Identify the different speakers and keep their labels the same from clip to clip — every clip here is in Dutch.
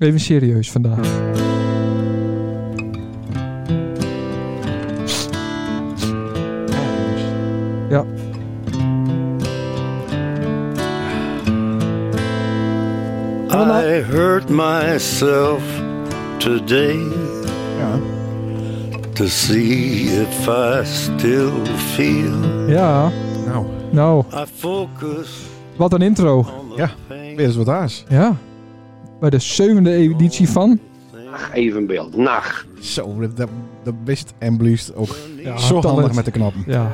Speaker 1: Even serieus vandaag. Ja.
Speaker 2: I hurt myself today
Speaker 3: Ja.
Speaker 2: to see if I still feel.
Speaker 1: Ja,
Speaker 3: Nou,
Speaker 1: nou,
Speaker 2: I focus
Speaker 1: wat een intro.
Speaker 2: on the
Speaker 3: Ja.
Speaker 2: pain.
Speaker 3: weer eens dus wat haars.
Speaker 1: Ja. Bij de zevende editie van.
Speaker 4: Ach, evenbeeld. Nacht.
Speaker 3: Zo, dat- dat, dat wist en blieft ook
Speaker 1: Ja,
Speaker 3: zo handig
Speaker 1: talent.
Speaker 3: met de knappen.
Speaker 1: Ja,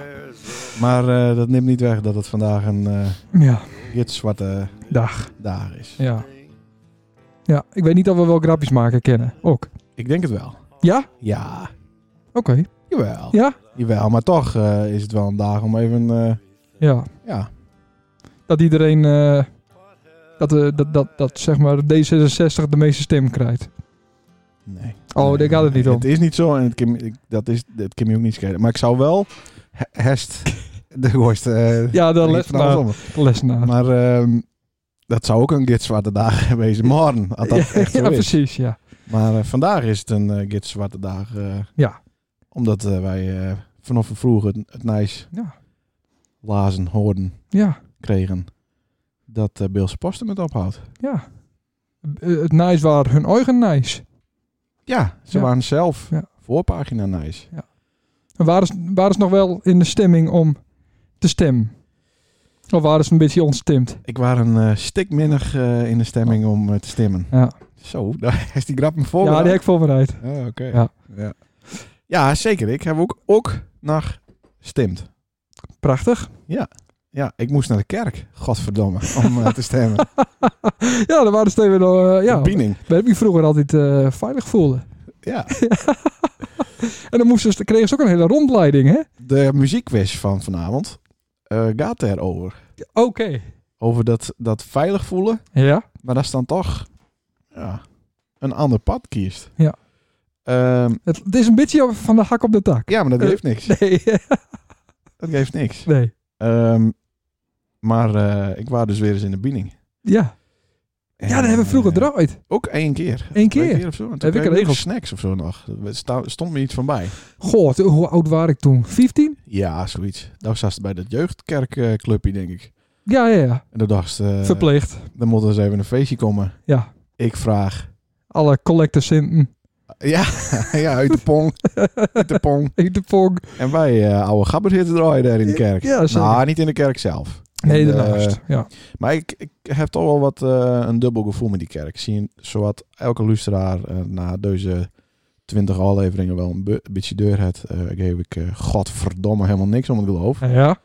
Speaker 3: Maar eh, dat neemt niet weg dat het vandaag een eh
Speaker 1: ja,
Speaker 3: gitzwarte
Speaker 1: dag.
Speaker 3: dag is.
Speaker 1: Ja. Ja, ik weet niet of we wel grapjes maken kennen. Ook.
Speaker 3: Ik denk het wel.
Speaker 1: Ja?
Speaker 3: Ja,
Speaker 1: Oké.
Speaker 3: jawel.
Speaker 1: Ja?
Speaker 3: Jawel, maar toch eh, is het wel een dag om even... eh,
Speaker 1: Ja.
Speaker 3: ja,
Speaker 1: Dat iedereen. eh, dat, eh, dat, dat, dat zeg maar D66 de meeste stem krijgt.
Speaker 3: nee.
Speaker 1: Oh,
Speaker 3: Nee,
Speaker 1: daar gaat het niet om.
Speaker 3: Het is niet zo en het kan, ik- dat, is, dat kan je ook niet schelen. Maar ik zou wel he- hest de gooiste... eh,
Speaker 1: Ja, dan
Speaker 3: iets
Speaker 1: les
Speaker 3: van alles
Speaker 1: naar.
Speaker 3: om.
Speaker 1: Les naar.
Speaker 3: Maar ehm, dat zou ook een gitzwarte dag wezen. Morgen, als dat echt zo
Speaker 1: ja,
Speaker 3: is.
Speaker 1: precies, ja.
Speaker 3: Maar eh, vandaag is het een eh gitzwarte dag. eh,
Speaker 1: Ja.
Speaker 3: Omdat eh, wij eh, vanaf vroeg het, het nice
Speaker 1: Ja.
Speaker 3: lazen, hoorden,
Speaker 1: Ja,
Speaker 3: kregen. Dat eh Beelse Posten het ophoudt.
Speaker 1: ja. Eh, Het nice waren hun eigen nice.
Speaker 3: Ja, ze
Speaker 1: Ja.
Speaker 3: waren zelf
Speaker 1: Ja.
Speaker 3: voorpagina nice.
Speaker 1: En waren ze, waren ze nog wel in de stemming om te stemmen? Of waren ze een beetje onstemd?
Speaker 3: Ik was een eh stik minder eh, in de stemming om eh, te stemmen.
Speaker 1: Ja,
Speaker 3: Zo, daar is die grap me voor.
Speaker 1: ja die heb ik voorbereid.
Speaker 3: Ah, oké.
Speaker 1: Ja.
Speaker 3: Ja. Ja. zeker. Ik heb ook, ook naar gestemd.
Speaker 1: Prachtig.
Speaker 3: Ja, ik moest naar de kerk, godverdomme, om eh, te stemmen.
Speaker 1: Ja, daar waren ze even... eh, ja,
Speaker 3: Bediening.
Speaker 1: waar ik me vroeger altijd eh, veilig voelde.
Speaker 3: Ja.
Speaker 1: En dan moesten ze, kregen ze ook een hele rondleiding, hè?
Speaker 3: De muziekquiz van vanavond eh, gaat erover.
Speaker 1: Oké.
Speaker 3: Over dat, dat veilig voelen,
Speaker 1: Ja?
Speaker 3: maar dat is dan toch ja, een ander pad kiest.
Speaker 1: Ja.
Speaker 3: Ehm,
Speaker 1: Het, het is een beetje van de hak op de tak.
Speaker 3: ja, maar dat
Speaker 1: Eh,
Speaker 3: geeft niks.
Speaker 1: Nee.
Speaker 3: Dat geeft niks.
Speaker 1: nee.
Speaker 3: Ehm, maar eh, ik was dus weer eens in de bediening.
Speaker 1: Ja. Ja, dat hebben we vroeger
Speaker 3: droog.
Speaker 1: draait.
Speaker 3: Ook één keer.
Speaker 1: Eén
Speaker 3: Twee
Speaker 1: keer.
Speaker 3: of zo. En toen
Speaker 1: Heb ik
Speaker 3: kreeg
Speaker 1: een
Speaker 3: nog
Speaker 1: regel.
Speaker 3: snacks of zo nog. Er sta- stond me iets van bij.
Speaker 1: Goh, t- hoe oud was ik toen? 15?
Speaker 3: Ja, zoiets. Dat was bij dat jeugdkerkclubje, denk ik.
Speaker 1: Ja, ja, ja.
Speaker 3: En toen dacht ze, eh,
Speaker 1: Verpleegd.
Speaker 3: dan moet er eens even een feestje komen.
Speaker 1: Ja.
Speaker 3: Ik vraag...
Speaker 1: Alle collectorsinten.
Speaker 3: Ja, ja uit de pong. uit de pong.
Speaker 1: Ik de pong.
Speaker 3: En wij eh, oude gabbers zitten draaien daar in de kerk.
Speaker 1: Ja, zeker.
Speaker 3: nou, niet in de kerk zelf.
Speaker 1: Nee,
Speaker 3: En, eh,
Speaker 1: daarnaast. Ja.
Speaker 3: Maar ik, ik heb toch wel wat eh, een dubbel gevoel met die kerk. Ik zie zowat elke luisteraar eh, na deze 20 afleveringen wel een, bu- een beetje deur het. eh, geef ik eh, godverdomme helemaal niks om het geloof.
Speaker 1: Ja.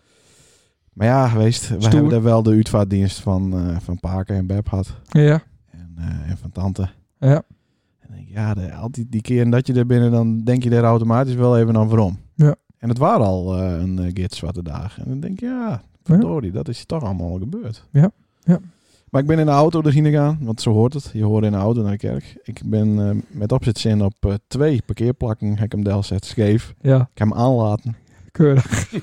Speaker 3: Maar ja, geweest. We
Speaker 1: Stoer.
Speaker 3: hebben daar wel de uitvaartdienst van, eh, van Paken en Beb gehad.
Speaker 1: Ja.
Speaker 3: En, eh, en van Tante.
Speaker 1: Ja.
Speaker 3: En ik denk, ja, de, altijd die keer dat je er binnen, dan denk je daar automatisch wel even aan waarom.
Speaker 1: Ja.
Speaker 3: En het waren al eh, een eh, gids zwarte dagen. En dan denk je, ja, verdorie, dat is toch allemaal gebeurd.
Speaker 1: Ja, ja.
Speaker 3: Maar ik ben in de auto erheen gegaan, want zo hoort het. Je hoort in de auto naar de kerk. Ik ben eh, met opzetzin op eh, twee parkeerplakken, heb ik hem daar zet scheef.
Speaker 1: Ja.
Speaker 3: Ik heb hem aanlaten
Speaker 1: Keurig.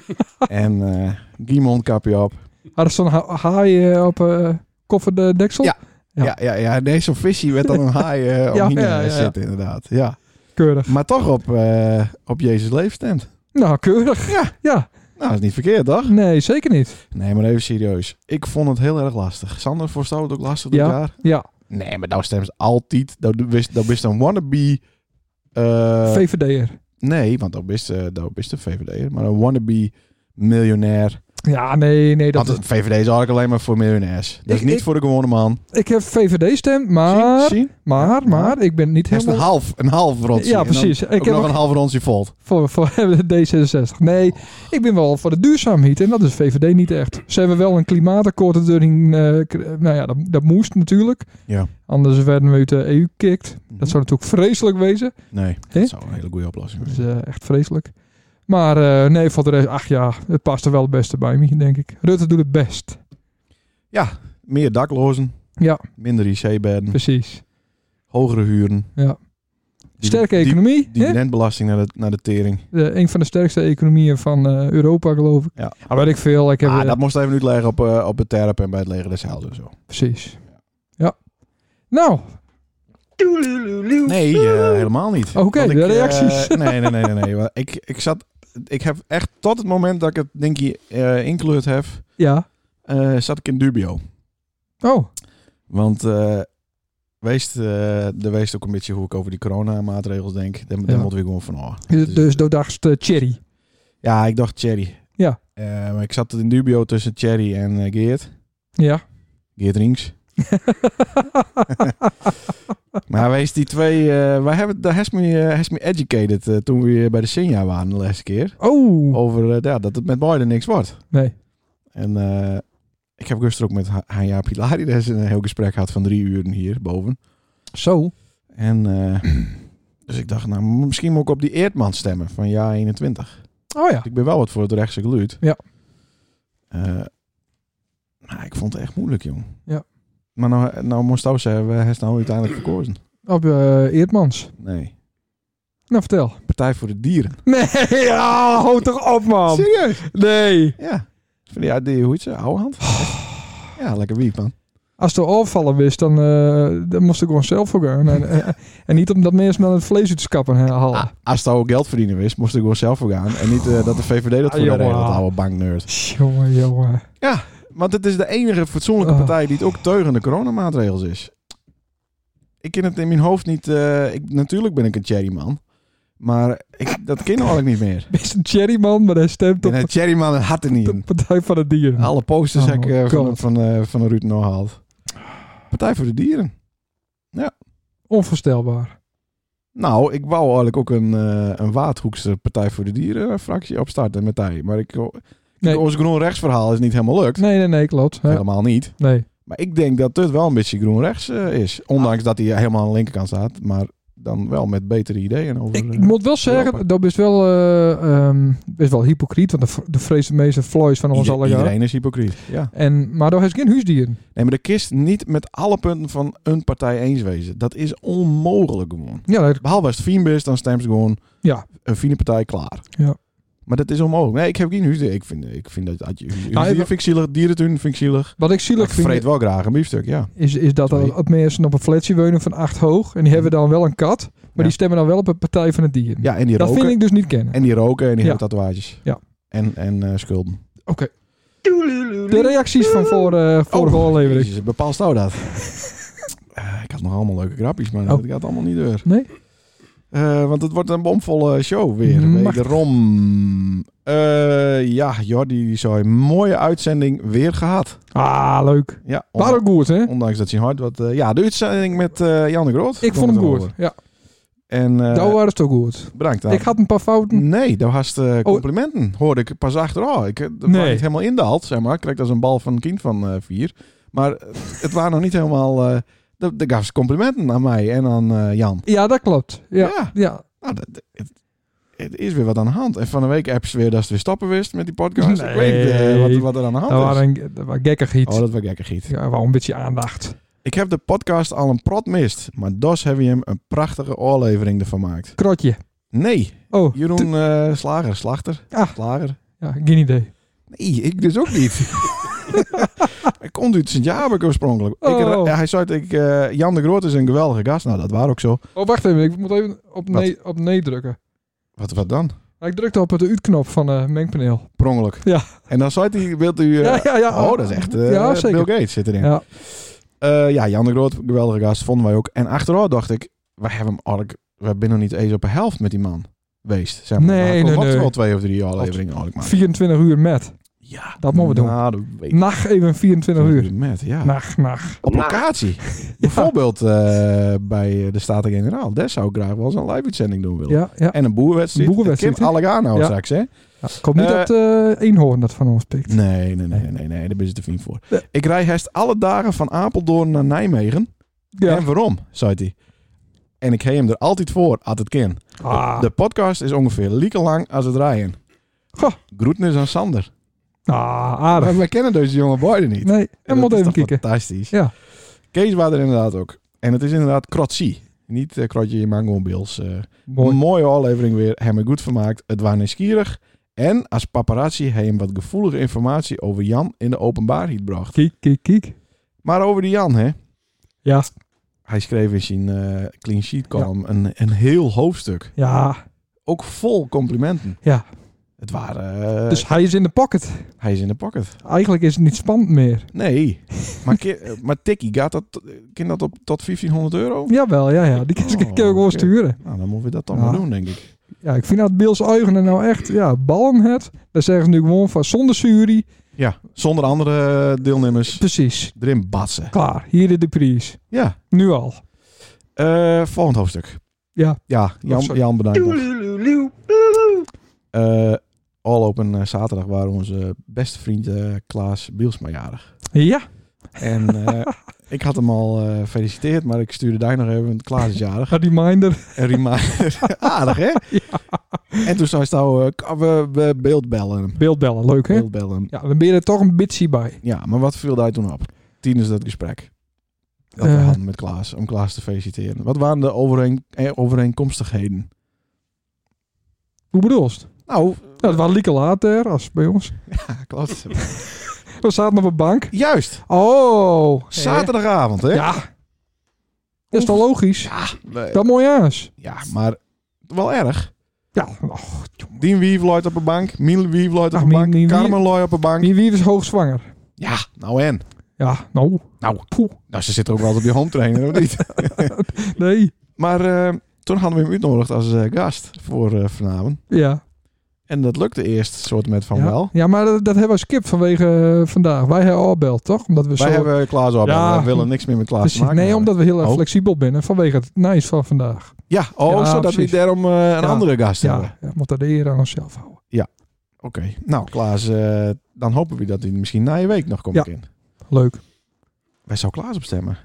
Speaker 3: en eh mondkapje op.
Speaker 1: Hadden ze zo'n ha- haai eh, op eh koffer de deksel?
Speaker 3: Ja.
Speaker 1: Ja.
Speaker 3: Ja, ja, ja, nee, zo'n visie werd dan een haai eh,
Speaker 1: Ja,
Speaker 3: omheen
Speaker 1: ja, ja,
Speaker 3: eh,
Speaker 1: ja.
Speaker 3: zitten inderdaad. Ja.
Speaker 1: Keurig.
Speaker 3: Maar toch op, eh, op Jezus leefstemt.
Speaker 1: Nou, keurig.
Speaker 3: Ja.
Speaker 1: Ja.
Speaker 3: Nou, is niet verkeerd, toch?
Speaker 1: Nee, zeker niet.
Speaker 3: Nee, maar even serieus. Ik vond het heel erg lastig. Sander, voorstel het ook lastig dit
Speaker 1: Ja.
Speaker 3: jaar?
Speaker 1: Ja.
Speaker 3: Nee, maar nou stemt ze altijd. Dat wist, dat wist een wannabe... eh,
Speaker 1: VVD'er.
Speaker 3: nee, want dat wist, eh, dat wist de VVD'er. Maar een wannabe miljonair.
Speaker 1: Ja, nee, nee. Dat
Speaker 3: Want het VVD is eigenlijk alleen maar voor miljonairs. Dat is
Speaker 1: Ik-
Speaker 3: niet
Speaker 1: ik- Ah,
Speaker 3: voor de gewone man.
Speaker 1: Ik heb VVD-stem, maar...
Speaker 3: Zie, zie.
Speaker 1: Maar, maar, ik ben niet
Speaker 3: Hij is een
Speaker 1: helemaal...
Speaker 3: half, een half rondje.
Speaker 1: Ja,
Speaker 3: En dan
Speaker 1: precies. Ik
Speaker 3: Ook
Speaker 1: heb
Speaker 3: nog
Speaker 1: ook-
Speaker 3: een Oh. half rondje volt.
Speaker 1: Voor, voor D66. Nee, ik ben wel voor de duurzaamheid. En dat is VVD niet echt. Ze hebben wel een klimaatakkoord erin. eh, k- nou ja, dat, dat moest natuurlijk.
Speaker 3: Ja.
Speaker 1: Anders werden we uit de EU gekikt.
Speaker 3: Mhm.
Speaker 1: Dat zou natuurlijk vreselijk wezen.
Speaker 3: Nee,
Speaker 1: Hè?
Speaker 3: dat zou een hele goede oplossing
Speaker 1: Dat
Speaker 3: zijn.
Speaker 1: is eh, echt vreselijk. Maar eh, nee, voor de rest, ach ja, het past er wel het beste bij me, denk ik. Rutte doet het best.
Speaker 3: Meer daklozen.
Speaker 1: Ja.
Speaker 3: Minder IC-bedden.
Speaker 1: Precies.
Speaker 3: Hogere huren.
Speaker 1: Ja.
Speaker 3: Die-
Speaker 1: Sterke
Speaker 3: die-
Speaker 1: economie. hè?
Speaker 3: Dividendbelasting naar de, naar de tering.
Speaker 1: De- een van de sterkste economieën van eh, Europa, geloof ik.
Speaker 3: Ja.
Speaker 1: Maar weet ik veel. Ik heb,
Speaker 3: Ah,
Speaker 1: eh,
Speaker 3: dat moest even uitleggen op, eh, op het terp en bij het leger des helden en zo.
Speaker 1: Precies. Ja. Nou,
Speaker 3: Nee, eh, helemaal niet.
Speaker 1: Oké,
Speaker 3: Want ik,
Speaker 1: de
Speaker 3: eh,
Speaker 1: reacties.
Speaker 3: nee, nee, nee, nee. nee. Want Ik, ik, zat, ik heb echt tot het moment dat ik het Dinky eh ingekleurd heb,
Speaker 1: Ja.
Speaker 3: eh, zat ik in dubio.
Speaker 1: Oh,
Speaker 3: Want eh wees, eh er wees ook een beetje hoe ik over die coronamaatregels denk. Dan, dan
Speaker 1: Ja.
Speaker 3: moet ik gewoon van, oh.
Speaker 1: dus,
Speaker 3: Dus-
Speaker 1: dus doodagst Cherry.
Speaker 3: Ja, ik dacht Cherry.
Speaker 1: Ja.
Speaker 3: Eh, maar ik zat in dubio tussen Cherry en eh, Geert.
Speaker 1: Ja.
Speaker 3: Geert Rings. maar wees die twee... eh, wij hebben, daar has me, eh, has me educated eh, toen we bij de Sinja waren de laatste keer.
Speaker 1: Oh,
Speaker 3: Over eh, ja, dat het met Biden niks wordt.
Speaker 1: nee.
Speaker 3: En eh, ik heb gisteren ook met Ha- Hanja Pilari daar is een heel gesprek gehad van drie uur hier boven.
Speaker 1: Zo.
Speaker 3: En eh, dus ik dacht, nou, misschien moet ik op die Eertman stemmen van jaar 21.
Speaker 1: Oh ja.
Speaker 3: Ik ben wel wat voor het rechtse geluid.
Speaker 1: Ja.
Speaker 3: Eh, maar ik vond het echt moeilijk, jong.
Speaker 1: Ja.
Speaker 3: Maar nou, nou moest ik ook zeggen, we hebben het nou uiteindelijk verkozen.
Speaker 1: Op eh, Eertmans.
Speaker 3: Nee.
Speaker 1: Nou, vertel.
Speaker 3: Partij voor de Dieren.
Speaker 1: Nee, ja, hou toch op, man.
Speaker 3: Serieus?
Speaker 1: Nee.
Speaker 3: Ja. Van die, die hoe heet ze? Oude hand?
Speaker 1: Oh.
Speaker 3: Ja, lekker wiep, man.
Speaker 1: Als het afvallen wist, dan, eh, dan moest ik gewoon zelf voor gaan. En, eh, en niet omdat mensen dan het vlees uit te kappen hè, halen.
Speaker 3: Ah, als het oude geld verdienen is, moest ik wel zelf voor gaan. En niet eh, dat de VVD dat
Speaker 1: Ah,
Speaker 3: voor de
Speaker 1: jongen.
Speaker 3: regelt, dat oude banknerd.
Speaker 1: Jongen, jongen.
Speaker 3: Want het is de enige fatsoenlijke
Speaker 1: Oh.
Speaker 3: partij die het ook teugen de coronamaatregels is. Ik ken het in mijn hoofd niet... eh, ik, natuurlijk ben ik een cherryman. Maar ik, dat ken eigenlijk niet meer.
Speaker 1: Best een cherryman, maar hij stemt
Speaker 3: En
Speaker 1: op
Speaker 3: een cherryman had er niet
Speaker 1: de
Speaker 3: in.
Speaker 1: Partij van het Dier.
Speaker 3: Alle posters
Speaker 1: Oh
Speaker 3: heb ik eh, van,
Speaker 1: God.
Speaker 3: van, eh, van Ruud nog gehaald. Partij voor de Dieren.
Speaker 1: Onvoorstelbaar.
Speaker 3: Nou, ik wou eigenlijk ook een, eh, een Waadhoekse Partij voor de Dieren fractie opstarten met hij. Maar ik,
Speaker 1: Nee.
Speaker 3: ons groen-rechtsverhaal is niet helemaal lukt.
Speaker 1: Nee, nee, nee, klopt. Ja,
Speaker 3: Helemaal niet.
Speaker 1: nee.
Speaker 3: Maar ik denk dat dit wel een beetje groen-rechts eh, is. Ondanks dat hij helemaal aan de linkerkant staat. Maar dan wel met betere ideeën over...
Speaker 1: Ik,
Speaker 3: eh,
Speaker 1: ik moet wel zeggen,
Speaker 3: Europa.
Speaker 1: dat is wel, eh, ehm, is wel hypocriet, want de, v- de vrees de meeste vlees van ons
Speaker 3: ieder-
Speaker 1: allemaal.
Speaker 3: iedereen is hypocriet. Ja.
Speaker 1: En, maar daar heeft geen huisdieren.
Speaker 3: Nee, maar de kist niet met alle punten van een partij eens wezen. Dat is onmogelijk gewoon.
Speaker 1: Ja, dat,
Speaker 3: Behalve als het Fien is, dan stemt ze gewoon
Speaker 1: Ja.
Speaker 3: een fine partij klaar.
Speaker 1: Ja.
Speaker 3: Maar dat is onmogelijk. Nee, ik heb geen huisdier. Ik vind, ik vind dat... dat je- Huisdieren
Speaker 1: Nou, even-
Speaker 3: vind ik zielig, dierentuin vind ik zielig.
Speaker 1: wat ik
Speaker 3: Ik
Speaker 1: zielig vind,
Speaker 3: vreet wel graag een biefstuk, ja.
Speaker 1: is, is dat er
Speaker 3: Sorry. Mhm.
Speaker 1: op mensen op een flatje wonen van acht hoog. En die hebben dan wel een kat, maar
Speaker 3: Ja.
Speaker 1: die stemmen dan wel op een Partij van het Dier.
Speaker 3: Ja, en die
Speaker 1: dat
Speaker 3: roken.
Speaker 1: vind ik dus niet kennen.
Speaker 3: En die roken en die
Speaker 1: Ja.
Speaker 3: hebben tatoeages.
Speaker 1: Ja.
Speaker 3: En, en eh, schulden.
Speaker 1: Oké. De reacties van voor, eh, vorige
Speaker 3: Oh.
Speaker 1: aflevering.
Speaker 3: Jezus, bepaalt jou dat? Eh, ik had nog allemaal leuke grapjes, maar dat gaat allemaal niet door.
Speaker 1: Oh. Nee?
Speaker 3: Eh, want het wordt een bomvolle show weer.
Speaker 1: Machtig.
Speaker 3: Wederom. Eh, ja, Jordi die zei, mooie uitzending weer gehad.
Speaker 1: Ah, leuk.
Speaker 3: Ja, on-
Speaker 1: Maar ook goed, hè?
Speaker 3: ondanks dat zijn hart wat... eh, ja, de uitzending met eh Jan de Groot.
Speaker 1: Ik vond hem
Speaker 3: Komt
Speaker 1: goed.
Speaker 3: erover.
Speaker 1: Ja,
Speaker 3: En eh,
Speaker 1: dat was toch goed.
Speaker 3: bedankt. aan-
Speaker 1: Ik had een paar fouten.
Speaker 3: Nee, daar was eh, complimenten. Hoorde ik pas achteraf. Ik eh, dat
Speaker 1: Oh. Nee.
Speaker 3: was niet helemaal in de halt, zeg maar. Ik kreeg dat als een bal van een kind van eh, vier. Maar eh, het waren nog niet helemaal... eh de, de gaf ze complimenten aan mij en aan eh, Jan.
Speaker 1: Ja, dat klopt. Ja.
Speaker 3: Ja.
Speaker 1: ja.
Speaker 3: Nou, dat, dat- het, het is weer wat aan de hand. En van de week apps weer dat ze weer stoppen wist met die podcast. Ik weet niet, eh,
Speaker 1: Nee.
Speaker 3: wat, wat er aan de hand
Speaker 1: Dat
Speaker 3: is.
Speaker 1: was een dat was gekkig iets.
Speaker 3: Oh, dat was gekker giet.
Speaker 1: Ja, wel een beetje aandacht.
Speaker 3: Ik heb de podcast al een prot mist. Maar dos heb je hem een prachtige oorlevering ervan gemaakt.
Speaker 1: Krotje.
Speaker 3: Nee,
Speaker 1: Oh,
Speaker 3: Jeroen eh, Slager, Slachter.
Speaker 1: Ah.
Speaker 3: Slager.
Speaker 1: ja, geen idee.
Speaker 3: Nee, ik dus ook niet. Hij komt uit Sint-Jabek oorspronkelijk. Ik,
Speaker 1: Oh.
Speaker 3: ja, hij zei, dat ik, eh, Jan de Groot is een geweldige gast. Nou, dat waar ook zo.
Speaker 1: Oh, wacht even. Ik moet even op nee, op nee drukken.
Speaker 3: Wat, wat dan?
Speaker 1: Ik drukte op het uitknop van eh mengpaneel.
Speaker 3: Prongelijk.
Speaker 1: Ja.
Speaker 3: En dan zei hij, wilt u... eh,
Speaker 1: Ja, ja, ja.
Speaker 3: Oh, dat is echt eh,
Speaker 1: Ja, zeker.
Speaker 3: Bill Gates zit erin.
Speaker 1: Ja.
Speaker 3: Eh, ja, Jan de Groot, geweldige gast, vonden wij ook. En achteraf dacht ik, wij hebben hem eigenlijk... We zijn nog niet eens op de helft met die man geweest. Zeg maar.
Speaker 1: Nee,
Speaker 3: Maar hij
Speaker 1: nee,
Speaker 3: komt
Speaker 1: nee.
Speaker 3: wel twee of drie afleveringen eigenlijk maar.
Speaker 1: 24 uur met.
Speaker 3: Ja.
Speaker 1: Dat moeten we doen.
Speaker 3: Nou, dat weet ik
Speaker 1: Nacht even 24 uur.
Speaker 3: niet. Met, ja.
Speaker 1: Nacht, nacht.
Speaker 3: Op locatie. Nou. Bijvoorbeeld eh, bij de Staten-Generaal. Daar zou ik graag wel eens een live-uitzending doen willen.
Speaker 1: Ja, ja.
Speaker 3: En een boerenwedstrijd.
Speaker 1: Een boerenwedstrijd,
Speaker 3: Kim
Speaker 1: hè?
Speaker 3: Allegano
Speaker 1: Ja.
Speaker 3: straks, hè?
Speaker 1: Ja, het komt niet
Speaker 3: Eh,
Speaker 1: dat eh eenhoorn dat van ons pikt.
Speaker 3: Nee, nee, nee, nee, nee. Daar ben je te vriend voor.
Speaker 1: Ja.
Speaker 3: Ik rij hest alle dagen van Apeldoorn naar Nijmegen.
Speaker 1: Ja.
Speaker 3: En waarom, zei hij. En ik heen hem er altijd voor, als het kan.
Speaker 1: Ah,
Speaker 3: De podcast is ongeveer lieke lang als het rijden.
Speaker 1: Goh.
Speaker 3: Groetnis aan Sander.
Speaker 1: ah,
Speaker 3: Maar
Speaker 1: aardig.
Speaker 3: wij kennen deze jonge boy niet.
Speaker 1: Nee, en
Speaker 3: Dat
Speaker 1: moet
Speaker 3: is
Speaker 1: even
Speaker 3: toch
Speaker 1: kijken.
Speaker 3: Fantastisch.
Speaker 1: Ja.
Speaker 3: Kees was er inderdaad ook. En het is inderdaad krotsie. Niet eh krotje, maar gewoon Bills. eh.
Speaker 1: Mooi.
Speaker 3: Een mooie aflevering weer. Hem er goed vermaakt. Het was nieuwsgierig. En als paparazzi hij hem wat gevoelige informatie over Jan in de openbaarheid bracht.
Speaker 1: Kiek, kiek, kiek.
Speaker 3: Maar over die Jan, hè.
Speaker 1: Ja.
Speaker 3: Hij schreef in zijn eh, clean sheet column een, een heel hoofdstuk. Eh,
Speaker 1: Ja,
Speaker 3: Ook vol complimenten.
Speaker 1: Ja.
Speaker 3: Het waren... eh,
Speaker 1: dus hij is in de pocket.
Speaker 3: hij is in de pocket.
Speaker 1: Eigenlijk is het niet spannend meer.
Speaker 3: Nee. maar, ki- eh, maar Tikkie, gaat dat, eh, kan dat op tot 1500 euro?
Speaker 1: Jawel, ja, ja. Die kan
Speaker 3: Oh,
Speaker 1: ik ook wel
Speaker 3: oké.
Speaker 1: sturen.
Speaker 3: Nou, dan moeten we dat dan
Speaker 1: Ja.
Speaker 3: maar doen, denk ik.
Speaker 1: Ja, ik vind dat Beels Eugen nou echt, ja, ballen het. Daar zeggen ze nu gewoon van zonder jury.
Speaker 3: Ja, zonder andere eh, deelnemers
Speaker 1: Precies.
Speaker 3: erin batsen.
Speaker 1: Klaar. Hier is de prijs.
Speaker 3: Ja,
Speaker 1: Nu al.
Speaker 3: eh, volgend hoofdstuk.
Speaker 1: Ja.
Speaker 3: Ja, Jan,
Speaker 1: Oh, sorry.
Speaker 3: Jan bedankt nog. Eh, al op een eh, zaterdag waren onze beste vriend eh, Klaas Bielsma jarig.
Speaker 1: Ja.
Speaker 3: En eh, ik had hem al eh, gefeliciteerd, maar ik stuurde daar nog even, want Klaas is jarig.
Speaker 1: Ga die minder.
Speaker 3: En Rima, aardig hè? En toen zei ze nou, eh, kan we, we beeldbellen hem.
Speaker 1: Beeldbellen. Leuk, hè?
Speaker 3: Beeldbellen.
Speaker 1: Ja, dan ben je er toch een bitsie bij.
Speaker 3: Ja, maar wat viel daar toen op? Tijdens dat gesprek. Dat we
Speaker 1: Eh.
Speaker 3: hadden met Klaas, om Klaas te feliciteren. Wat waren de overeen, eh, overeenkomstigheden?
Speaker 1: Hoe bedoelst?
Speaker 3: Nou,
Speaker 1: Nou, het was lieke later als bij ons.
Speaker 3: ja, Klaas.
Speaker 1: We zaten op een bank.
Speaker 3: Juist,
Speaker 1: Oh. hè?
Speaker 3: zaterdagavond hè?
Speaker 1: Ja. Dat is toch logisch?
Speaker 3: Nee.
Speaker 1: Dat mooi aas.
Speaker 3: Ja, maar wel erg.
Speaker 1: Ja. Och, jongen.
Speaker 3: Dien Wief looit op een bank. Miel Wief looit op
Speaker 1: Ach,
Speaker 3: een
Speaker 1: Mien-
Speaker 3: bank.
Speaker 1: Mien Wief-
Speaker 3: Carmen looit op een bank.
Speaker 1: Wie, wie is hoogzwanger?
Speaker 3: Ja, nou en?
Speaker 1: Ja, nou.
Speaker 3: Nou.
Speaker 1: Poeh.
Speaker 3: Nou, ze zit er ook wel op die home trainer, of niet?
Speaker 1: Nee.
Speaker 3: Maar eh, toen hadden we hem uitnodigd als eh, gast voor eh, vanavond.
Speaker 1: Ja.
Speaker 3: En dat lukte eerst soort met van
Speaker 1: ja.
Speaker 3: wel.
Speaker 1: Ja, maar dat, dat hebben we skip vanwege eh, vandaag. Wij hebben opbeld, toch? Omdat we
Speaker 3: Wij
Speaker 1: zo...
Speaker 3: hebben Klaas op.
Speaker 1: Ja.
Speaker 3: We willen niks meer met Klaas
Speaker 1: precies-
Speaker 3: te maken.
Speaker 1: nee,
Speaker 3: hebben.
Speaker 1: omdat we heel erg
Speaker 3: Oh.
Speaker 1: flexibel binnen vanwege het nice van vandaag.
Speaker 3: Ja, oh,
Speaker 1: Ja,
Speaker 3: zodat
Speaker 1: precies.
Speaker 3: we daarom eh, een
Speaker 1: Ja.
Speaker 3: andere gast hebben.
Speaker 1: Ja, ja moet dat de eer aan onszelf houden.
Speaker 3: Oké, nou Klaas, eh, dan hopen we dat hij misschien na je week nog komt
Speaker 1: Ja.
Speaker 3: in.
Speaker 1: Leuk.
Speaker 3: Wij zou Klaas opstemmen.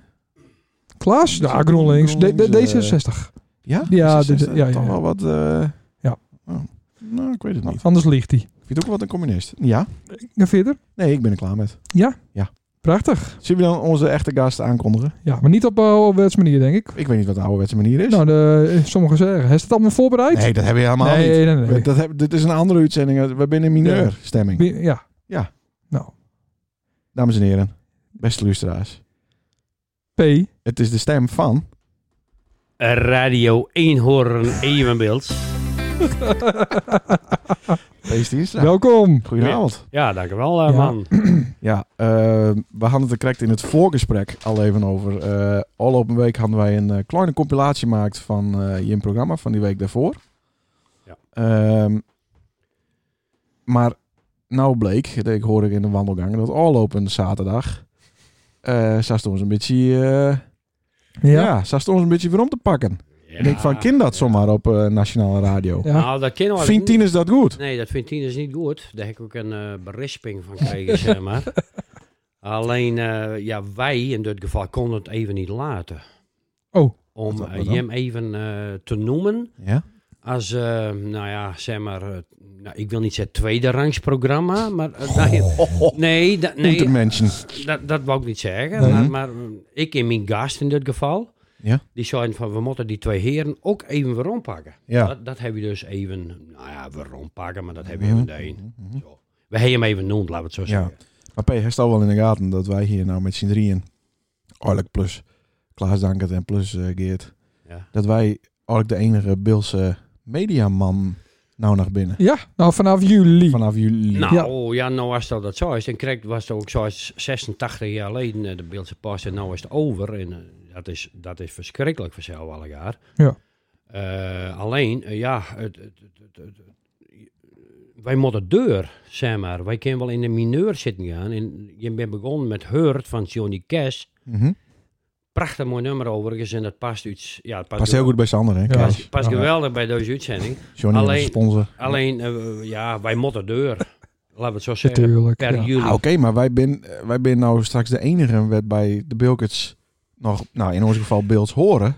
Speaker 1: Klaas? Ja, GroenLinks. D- D-
Speaker 3: GroenLinks,
Speaker 1: D66.
Speaker 3: Ja?
Speaker 1: Ja,
Speaker 3: Is dat-
Speaker 1: dit-
Speaker 3: is
Speaker 1: ja,
Speaker 3: dat
Speaker 1: ja,
Speaker 3: Toch
Speaker 1: ja.
Speaker 3: wel wat... eh,
Speaker 1: Ja.
Speaker 3: oh, nou, ik weet het niet.
Speaker 1: Anders ligt hij.
Speaker 3: Ik vind het ook wat een communist. Ja?
Speaker 1: Ga verder.
Speaker 3: Nee, ik ben er klaar met.
Speaker 1: Prachtig.
Speaker 3: Zullen we dan onze echte gast aankondigen?
Speaker 1: Ja, maar niet op eh, ouderwetse manier, denk ik.
Speaker 3: Ik weet niet wat de ouderwetse manier is.
Speaker 1: Nou, de, sommigen zeggen. Heeft het allemaal voorbereid?
Speaker 3: nee, dat hebben we helemaal
Speaker 1: nee,
Speaker 3: niet.
Speaker 1: nee, nee, nee.
Speaker 3: Dat heb, dit is een andere uitzending. We zijn in mineur stemming.
Speaker 1: Wie- Ja.
Speaker 3: Ja.
Speaker 1: Nou,
Speaker 3: Dames en heren, beste luisteraars.
Speaker 1: P.
Speaker 3: Het is de stem van...
Speaker 5: Radio Eenhoorn Evenbeeld.
Speaker 3: Pees Dienstra.
Speaker 1: Welkom.
Speaker 3: Goedenavond.
Speaker 5: Ja, dankjewel eh,
Speaker 1: Ja.
Speaker 5: man.
Speaker 3: Ja, eh, we hadden het er correct in het voorgesprek al even over. Eh al op een week hadden wij een eh, kleine compilatie gemaakt van eh je programma van die week daarvoor.
Speaker 5: Ja.
Speaker 3: Ehm, maar nou bleek, ik hoorde ik in de wandelgang, dat al op een zaterdag... eh ze stond een beetje... eh, ja,
Speaker 1: Ja.
Speaker 3: ze stond een beetje weer om te pakken. En ik van, kind dat zomaar op eh, nationale radio?
Speaker 1: Ja.
Speaker 5: Nou, dat kennen we
Speaker 3: Vindt tien is dat goed?
Speaker 5: Nee, dat vindt tien is niet goed. Daar heb ik ook een eh berisping van gekregen, zeg maar. Alleen, eh, ja, wij in dit geval konden het even niet laten.
Speaker 1: Oh.
Speaker 5: Om
Speaker 3: Wat dan?
Speaker 5: eh, Jim even eh, te noemen
Speaker 3: Ja.
Speaker 5: als, eh, nou ja, zeg maar, eh, nou, ik wil niet zeggen tweede rangsprogramma, maar... eh, nee, nee, dat- nee,
Speaker 3: Untermenschen.
Speaker 5: Dat, dat wou ik niet zeggen.
Speaker 1: Nee.
Speaker 5: Maar, maar ik en mijn gast in dit geval,
Speaker 3: Ja.
Speaker 5: die zeiden van we moeten die twee heren ook even weer ompakken.
Speaker 3: Ja.
Speaker 5: Dat, dat heb je dus even, nou ja, weer ompakken, maar dat heb je
Speaker 3: Mhm.
Speaker 5: even de een. Zo. We hebben hem even noemd, laten we het zo
Speaker 3: Ja.
Speaker 5: zeggen.
Speaker 3: Maar P, heeft al wel in de gaten dat wij hier nou met z'n drieën, eigenlijk plus Klaas Dankert en plus eh, Geert,
Speaker 5: Ja.
Speaker 3: dat wij eigenlijk de enige Bilse mediaman nou naar binnen.
Speaker 1: Ja, nou vanaf juli.
Speaker 3: Vanaf jullie.
Speaker 5: Nou,
Speaker 1: Ja.
Speaker 5: ja. nou als dat, dat zo is, dan kreeg, was het ook zo is 86 jaar geleden eh, de Beeldse Pas en nou is het over. En eh, dat, is, dat is verschrikkelijk voor zelf alle jaar.
Speaker 1: Ja.
Speaker 5: Eh, alleen, eh, ja, het, het, het, het- het- wij moeten deur, zeg maar. Wij kunnen wel in de mineur zitten gaan. En je bent begonnen met Hurt van Johnny Cash.
Speaker 3: Mhm.
Speaker 5: Prachtig mooi nummer overigens en dat past iets. Ja, het past,
Speaker 3: Past heel
Speaker 5: gewel-
Speaker 3: goed bij Sander, hè?
Speaker 1: Ja.
Speaker 3: Klaas?
Speaker 5: Past, past geweldig bij deze uitzending.
Speaker 3: Johnny
Speaker 5: Alleen-
Speaker 3: onze sponsor.
Speaker 5: Alleen, eh, ja, wij moeten deur. Laten we het zo zeggen.
Speaker 1: Natuurlijk.
Speaker 5: Per
Speaker 1: ja.
Speaker 5: juli.
Speaker 3: Ah, Oké, maar wij zijn wij ben nou straks de enige werd bij de Bilkets nog, nou in ons geval Bilds horen.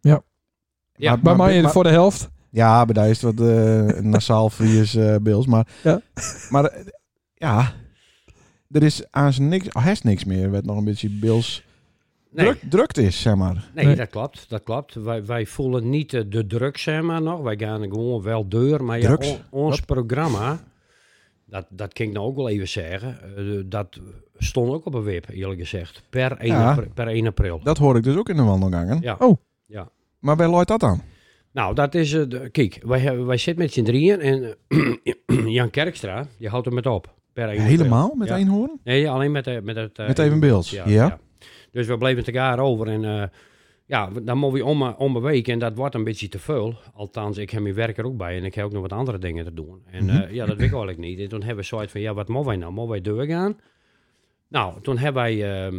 Speaker 1: Ja.
Speaker 5: Ja,
Speaker 1: Bij mij voor de helft. Oh,
Speaker 3: Ja, bij daar is het wat eh nasaal vries eh beels. Maar,
Speaker 1: Ja.
Speaker 3: maar eh, ja, er is aan zijn niks, oh, hij is niks meer. Werd nog een beetje beels
Speaker 5: Nee,
Speaker 3: druk, drukt is, zeg maar.
Speaker 5: nee,
Speaker 1: Nee.
Speaker 5: dat klopt. Dat klopt. Wij, wij voelen niet eh, de druk, zeg maar nog. Wij gaan gewoon wel deur. Maar ja,
Speaker 3: Drugs?
Speaker 5: on- ons programma. Dat, dat kan ik nou ook wel even zeggen. Eh, dat stond ook op een web, eerlijk gezegd. Per 1,
Speaker 3: Ja.
Speaker 5: apr- per 1 april.
Speaker 3: Dat hoor ik dus ook in de wandelgangen.
Speaker 5: Ja.
Speaker 1: Oh.
Speaker 5: Ja.
Speaker 3: Maar waar looit dat aan?
Speaker 5: Nou, dat is... eh, de- kijk, wij, hebben- wij zitten met z'n drieën en eh, Jan Kerkstra, die houdt er met op. Per 1 april.
Speaker 3: Helemaal met
Speaker 5: Ja.
Speaker 3: één hoorn?
Speaker 5: Nee, alleen met, eh, met het... eh,
Speaker 3: Met even beeld. Ja.
Speaker 5: Dus we bleven het elkaar over en eh, ja, we- dan moet je om, eh, om een week en dat wordt een beetje te veel. Althans, ik heb mijn werk er ook bij en ik heb ook nog wat andere dingen te doen. En
Speaker 3: Mhm.
Speaker 5: eh, ja, dat weet ik eigenlijk niet. En toen hebben we zoiets van, ja, wat moeten wij nou? Moeten wij doorgaan? Nou, toen hebben wij ehm,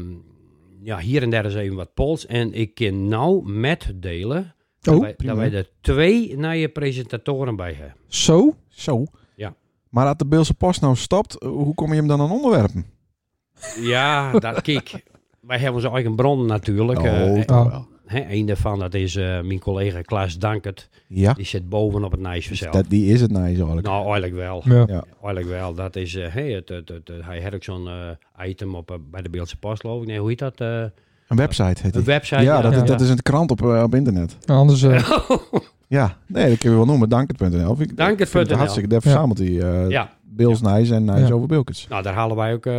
Speaker 5: ja, hier en daar eens even wat polls. En ik kan nou met delen dat,
Speaker 1: Oh,
Speaker 5: wij,
Speaker 3: prima.
Speaker 5: dat wij er twee nieuwe presentatoren bij hebben.
Speaker 1: zo?
Speaker 3: Zo.
Speaker 5: Ja.
Speaker 3: Maar als de Beelse post nou stopt, eh, hoe kom je hem dan aan onderwerpen?
Speaker 5: Ja, dat kijk. Wij hebben onze eigen bron natuurlijk. eh,
Speaker 3: toch
Speaker 1: eh,
Speaker 3: wel.
Speaker 5: Hè, een daarvan, dat is eh, mijn collega Klaas Dankert.
Speaker 3: Ja.
Speaker 5: Die zit boven op het Nijsverzeld.
Speaker 3: Dat, die is het nice eigenlijk.
Speaker 5: Nou, eigenlijk wel.
Speaker 1: Ja.
Speaker 3: Ja.
Speaker 5: Eigenlijk wel. Dat is, eh, hey, het, het, het, het- hij had ook zo'n eh, item op, eh, bij de Beeldse Post, geloof ik. Nee, hoe heet dat? eh,
Speaker 3: Een website heet
Speaker 5: een
Speaker 3: die.
Speaker 5: website?
Speaker 3: Ja, dat,
Speaker 1: ja.
Speaker 3: Is, dat is een krant op, eh, op internet.
Speaker 1: Nou, anders... eh,
Speaker 3: Ja, nee, dat kun je wel noemen. Dankert.nl. Vind ik-
Speaker 5: Dankert.nl.
Speaker 3: vind het Hartstikke, daar verzamelt hij eh
Speaker 5: Ja.
Speaker 3: Beels Nijs en Nijs
Speaker 1: Ja.
Speaker 3: over Bilkens.
Speaker 5: Nou, daar halen wij ook eh,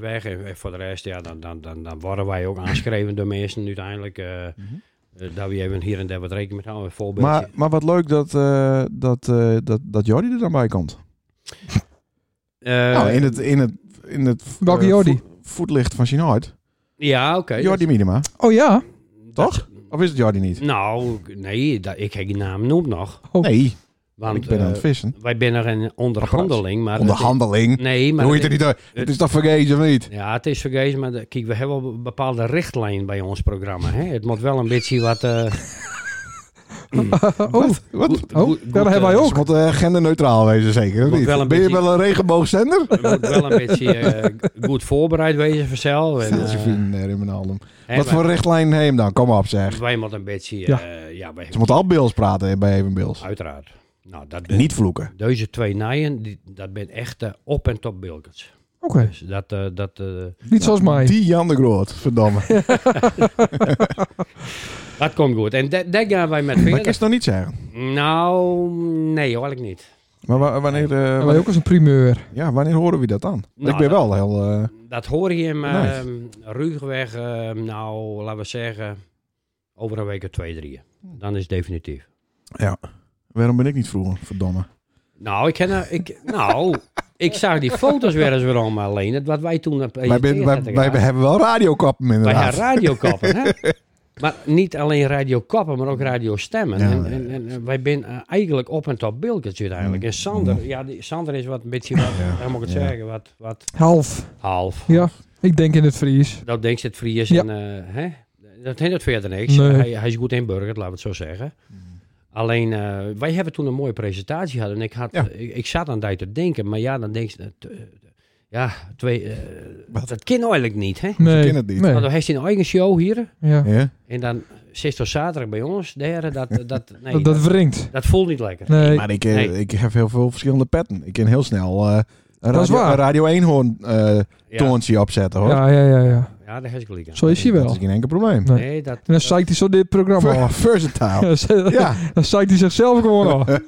Speaker 5: weg. En en voor de rest, ja, dan, dan, dan, dan worden wij ook aangeschreven door mensen uiteindelijk. eh
Speaker 3: Mhm.
Speaker 5: eh, daar we even hier en daar wat rekening mee houden. Een voorbeeldje.
Speaker 3: Maar, maar wat leuk dat, eh, dat, eh, dat, dat Jordi er dan bij komt.
Speaker 5: Eh,
Speaker 3: nou, in het, in het, in het
Speaker 1: Welke
Speaker 3: eh,
Speaker 1: Jordi?
Speaker 3: voet- voetlicht van Sinoid.
Speaker 5: Ja, oké.
Speaker 3: Jordi Minima.
Speaker 1: oh ja.
Speaker 5: Dat-
Speaker 3: Toch? Of is het Jordi niet?
Speaker 5: Nou, nee, dat, ik heb die naam noem nog.
Speaker 1: Oh.
Speaker 3: Nee,
Speaker 5: Want
Speaker 3: ik ben aan
Speaker 5: eh,
Speaker 3: het vissen.
Speaker 5: wij zijn er een onderhandeling. Maar
Speaker 3: Onderhandeling.
Speaker 5: Nee, Mm, maar...
Speaker 3: Hoe heet het niet? uit? Het is toch vergeten of niet?
Speaker 5: Ja, het is vergeven, maar de- kijk, we hebben wel een bepaalde richtlijn bij ons programma. Hè? Het moet wel een beetje wat... eh,
Speaker 1: oh,
Speaker 3: Wat?
Speaker 5: goed-
Speaker 1: oh,
Speaker 5: goed-
Speaker 1: ja,
Speaker 5: goed,
Speaker 1: dat hebben wij
Speaker 5: eh,
Speaker 1: ook.
Speaker 3: Ze moeten eh, genderneutraal wezen zeker, of
Speaker 5: Moet
Speaker 3: niet?
Speaker 5: wel een
Speaker 3: ben je
Speaker 5: beetje-
Speaker 3: wel een regenboogzender?
Speaker 5: We moeten wel een beetje eh, goed voorbereid wezen voor zelf. En, eh,
Speaker 3: Josephine, eh, Rumenalem.
Speaker 5: hè,
Speaker 3: Wat
Speaker 5: wij-
Speaker 3: voor richtlijn neem dan? Kom op zeg.
Speaker 5: Wij moeten een beetje... eh, ja. wij,
Speaker 3: Ze moeten al Bills praten eh, bij Even Bills.
Speaker 5: Uiteraard. Nou, dat ben,
Speaker 3: Niet vloeken.
Speaker 5: Deze twee nijen, die, dat ben echt eh, op en top Bilkens.
Speaker 1: Oké.
Speaker 5: Dus dat... eh, dat eh,
Speaker 1: Niet zoals mij.
Speaker 3: Die Jan de Groot, verdomme.
Speaker 5: Dat komt goed. En da- daar gaan wij met
Speaker 3: Dat
Speaker 5: verder.
Speaker 3: kan ze nog niet zeggen.
Speaker 5: Nou, nee, hoor ik niet.
Speaker 3: Maar wa- wanneer, eh,
Speaker 1: Dat wij
Speaker 3: wanneer,
Speaker 1: ook als een primeur.
Speaker 3: ja, wanneer horen we dat dan?
Speaker 5: Nou,
Speaker 3: ik ben
Speaker 5: dat-
Speaker 3: wel heel... eh,
Speaker 5: Dat hoor je hem
Speaker 3: Nice.
Speaker 5: ehm ruwweg, ehm, nou, laten we zeggen, over een week of twee, drieën. Dan is het definitief.
Speaker 3: waarom ben ik niet vroeger? Verdomme.
Speaker 5: Nou, ik, ken, eh, ik, nou, ik zag die foto's weer eens weer om, alleen het wat wij toen eh, hebben
Speaker 3: Wij, ben- wij, wij hebben wel radiokappen
Speaker 5: Wij
Speaker 3: inderdaad.
Speaker 5: gaan radiokappen, hè? Maar niet alleen radiokappen, maar ook radiostemmen.
Speaker 3: Ja, Mm.
Speaker 5: en, en, en, eh, wij zijn eh, eigenlijk op en top Bilkens uiteindelijk. En Sander, ja, die, Sander is wat een beetje, wat, hoe moet ik het
Speaker 3: ja.
Speaker 5: zeggen, wat, wat
Speaker 1: Half.
Speaker 5: half.
Speaker 1: Ja. Ik denk in het Fries.
Speaker 5: Dat denkt het Fries
Speaker 1: Ja.
Speaker 5: en eh, hè? dat heeft het verder niks.
Speaker 1: Nee.
Speaker 5: Hij, hij is goed inburgerd, laten we het zo zeggen.
Speaker 3: Mm.
Speaker 5: Alleen, eh, wij hebben toen een mooie presentatie gehad. En ik, had, eh,
Speaker 3: Ja.
Speaker 5: ik, ik zat aan die te denken, maar ja, dan denk je... eh, t- eh, ja, twee, eh,
Speaker 3: Wat?
Speaker 5: dat kan eigenlijk niet, hè?
Speaker 1: Nee.
Speaker 3: ken het niet.
Speaker 1: Nee.
Speaker 5: Want hij heeft een eigen show hier.
Speaker 1: Ja.
Speaker 3: Ja?
Speaker 5: En dan zit er zaterdag bij ons. Daar, dat, dat, nee,
Speaker 1: Dat,
Speaker 5: dat,
Speaker 1: dat wringt.
Speaker 5: dat voelt niet lekker.
Speaker 1: Nee.
Speaker 3: Maar ik, eh,
Speaker 5: Nee.
Speaker 3: ik heb heel veel verschillende petten. Ik kan heel snel eh, een,
Speaker 1: Dat is
Speaker 3: radio,
Speaker 1: waar.
Speaker 3: een radio 1 hoorn eh,
Speaker 5: Ja,
Speaker 3: toontje opzetten hoor.
Speaker 1: Ja, ja, ja, ja.
Speaker 5: ja daar heb ik gelijk aan.
Speaker 1: Zo is hij
Speaker 3: Dat
Speaker 1: wel.
Speaker 3: is geen enkel probleem.
Speaker 1: Nee.
Speaker 5: Nee, dat...
Speaker 1: En dan zeikt hij zo dit programma
Speaker 3: Ver-
Speaker 1: af.
Speaker 3: Versatile.
Speaker 1: Ja.
Speaker 3: Ja.
Speaker 1: Dan zeikt hij zichzelf gewoon af.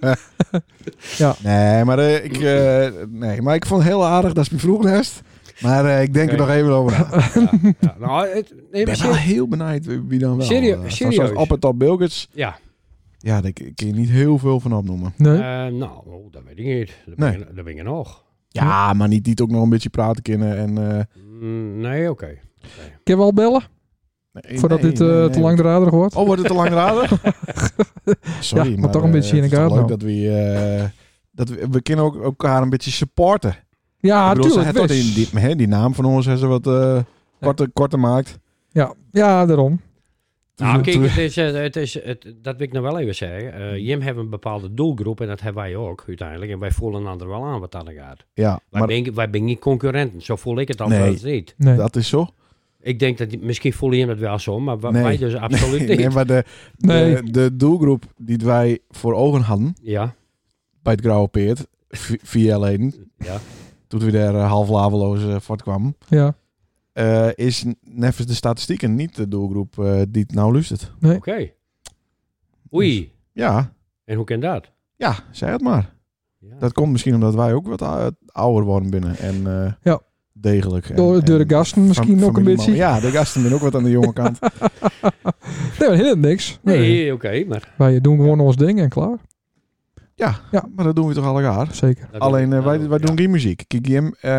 Speaker 3: Nee, maar eh, ik, eh, nee, maar ik vond het heel aardig dat is mijn vroegnest. Maar eh, ik denk
Speaker 5: Oké.
Speaker 3: er nog even over na.
Speaker 5: ja, ja. Nou, het, nee,
Speaker 3: Ik ben
Speaker 5: maar
Speaker 3: wel
Speaker 5: serieus.
Speaker 3: heel benieuwd wie dan wel.
Speaker 5: Serie-
Speaker 3: eh,
Speaker 5: serieus?
Speaker 3: Zoals op en top Bilkets.
Speaker 5: ja.
Speaker 3: Ja, daar kun je niet heel veel van opnoemen.
Speaker 1: Nee.
Speaker 5: Eh, nou, oh, dat weet ik niet. Dat ben,
Speaker 3: Nee.
Speaker 5: ik, dat ben ik nog.
Speaker 3: Ja, maar niet die het ook nog een beetje praten kunnen. En, eh,
Speaker 5: Mm, nee, oké.
Speaker 1: Ik heb al bellen.
Speaker 3: nee,
Speaker 1: Voordat
Speaker 3: nee,
Speaker 1: dit eh,
Speaker 3: nee, nee.
Speaker 1: te lang draderig wordt.
Speaker 3: Oh, wordt het te lang raden? Sorry,
Speaker 1: Ja, maar
Speaker 3: maar
Speaker 1: toch een
Speaker 3: eh,
Speaker 1: beetje in
Speaker 3: het
Speaker 1: elkaar
Speaker 3: is toch leuk
Speaker 1: dan.
Speaker 3: dat we, eh, dat we, we kunnen ook elkaar een beetje supporten.
Speaker 1: Ja,
Speaker 3: Ik bedoel, ze
Speaker 1: tuurlijk.
Speaker 3: hebben toch
Speaker 1: Wes.
Speaker 3: die, die, hè, die naam van ons hebben ze wat eh korter, korter maakt.
Speaker 1: Ja. ja, daarom.
Speaker 5: Nou,
Speaker 3: Toen-
Speaker 5: kijk, het is, eh, het is, het, dat wil ik nog wel even zeggen.
Speaker 3: Mm.
Speaker 5: Eh, Jim heeft een bepaalde doelgroep en dat hebben wij ook uiteindelijk. En wij voelen een ander wel aan wat dat gaat.
Speaker 3: Ja,
Speaker 5: Wij,
Speaker 3: maar
Speaker 5: ben, wij ben niet concurrenten, zo voel ik het althans niet.
Speaker 1: Nee.
Speaker 3: dat is zo.
Speaker 5: Ik denk dat, die- misschien voel je hem dat wel zo, maar wa-
Speaker 3: Nee.
Speaker 5: wij dus absoluut
Speaker 3: Nee,
Speaker 5: niet.
Speaker 3: maar de, de,
Speaker 1: Nee.
Speaker 3: de doelgroep die wij voor ogen hadden
Speaker 5: Ja,
Speaker 3: bij het Grauwe Peert, vi- vier jaar geleden,
Speaker 5: ja.
Speaker 3: toen we daar eh, half laveloos eh, voor kwamen,
Speaker 1: Ja.
Speaker 3: eh, is n- neffens de statistieken niet de doelgroep eh, die het nou luistert.
Speaker 5: Oké. Oei,
Speaker 3: Ja, Dus-
Speaker 5: en hoe kan dat?
Speaker 3: ja, zeg het maar.
Speaker 5: Ja.
Speaker 3: Dat komt misschien omdat wij ook wat ou- ouder worden binnen. En eh,
Speaker 1: Ja.
Speaker 3: degelijk. En,
Speaker 1: Door, door de
Speaker 3: en
Speaker 1: gasten misschien
Speaker 3: fam-
Speaker 1: ook een
Speaker 3: familieman.
Speaker 1: beetje.
Speaker 3: Ja, de gasten zijn ook wat aan de jonge kant.
Speaker 1: Nee, maar helemaal niks.
Speaker 5: Nee,
Speaker 1: Nee.
Speaker 5: oké, maar...
Speaker 1: Wij doen gewoon ons ding en klaar.
Speaker 3: ja,
Speaker 1: Ja.
Speaker 3: maar dat doen we toch alle jaar.
Speaker 1: Zeker.
Speaker 5: dat-
Speaker 3: Alleen eh, wij,
Speaker 5: dat-
Speaker 3: wij
Speaker 5: ja.
Speaker 3: doen geen muziek. Kijk, Jim, eh,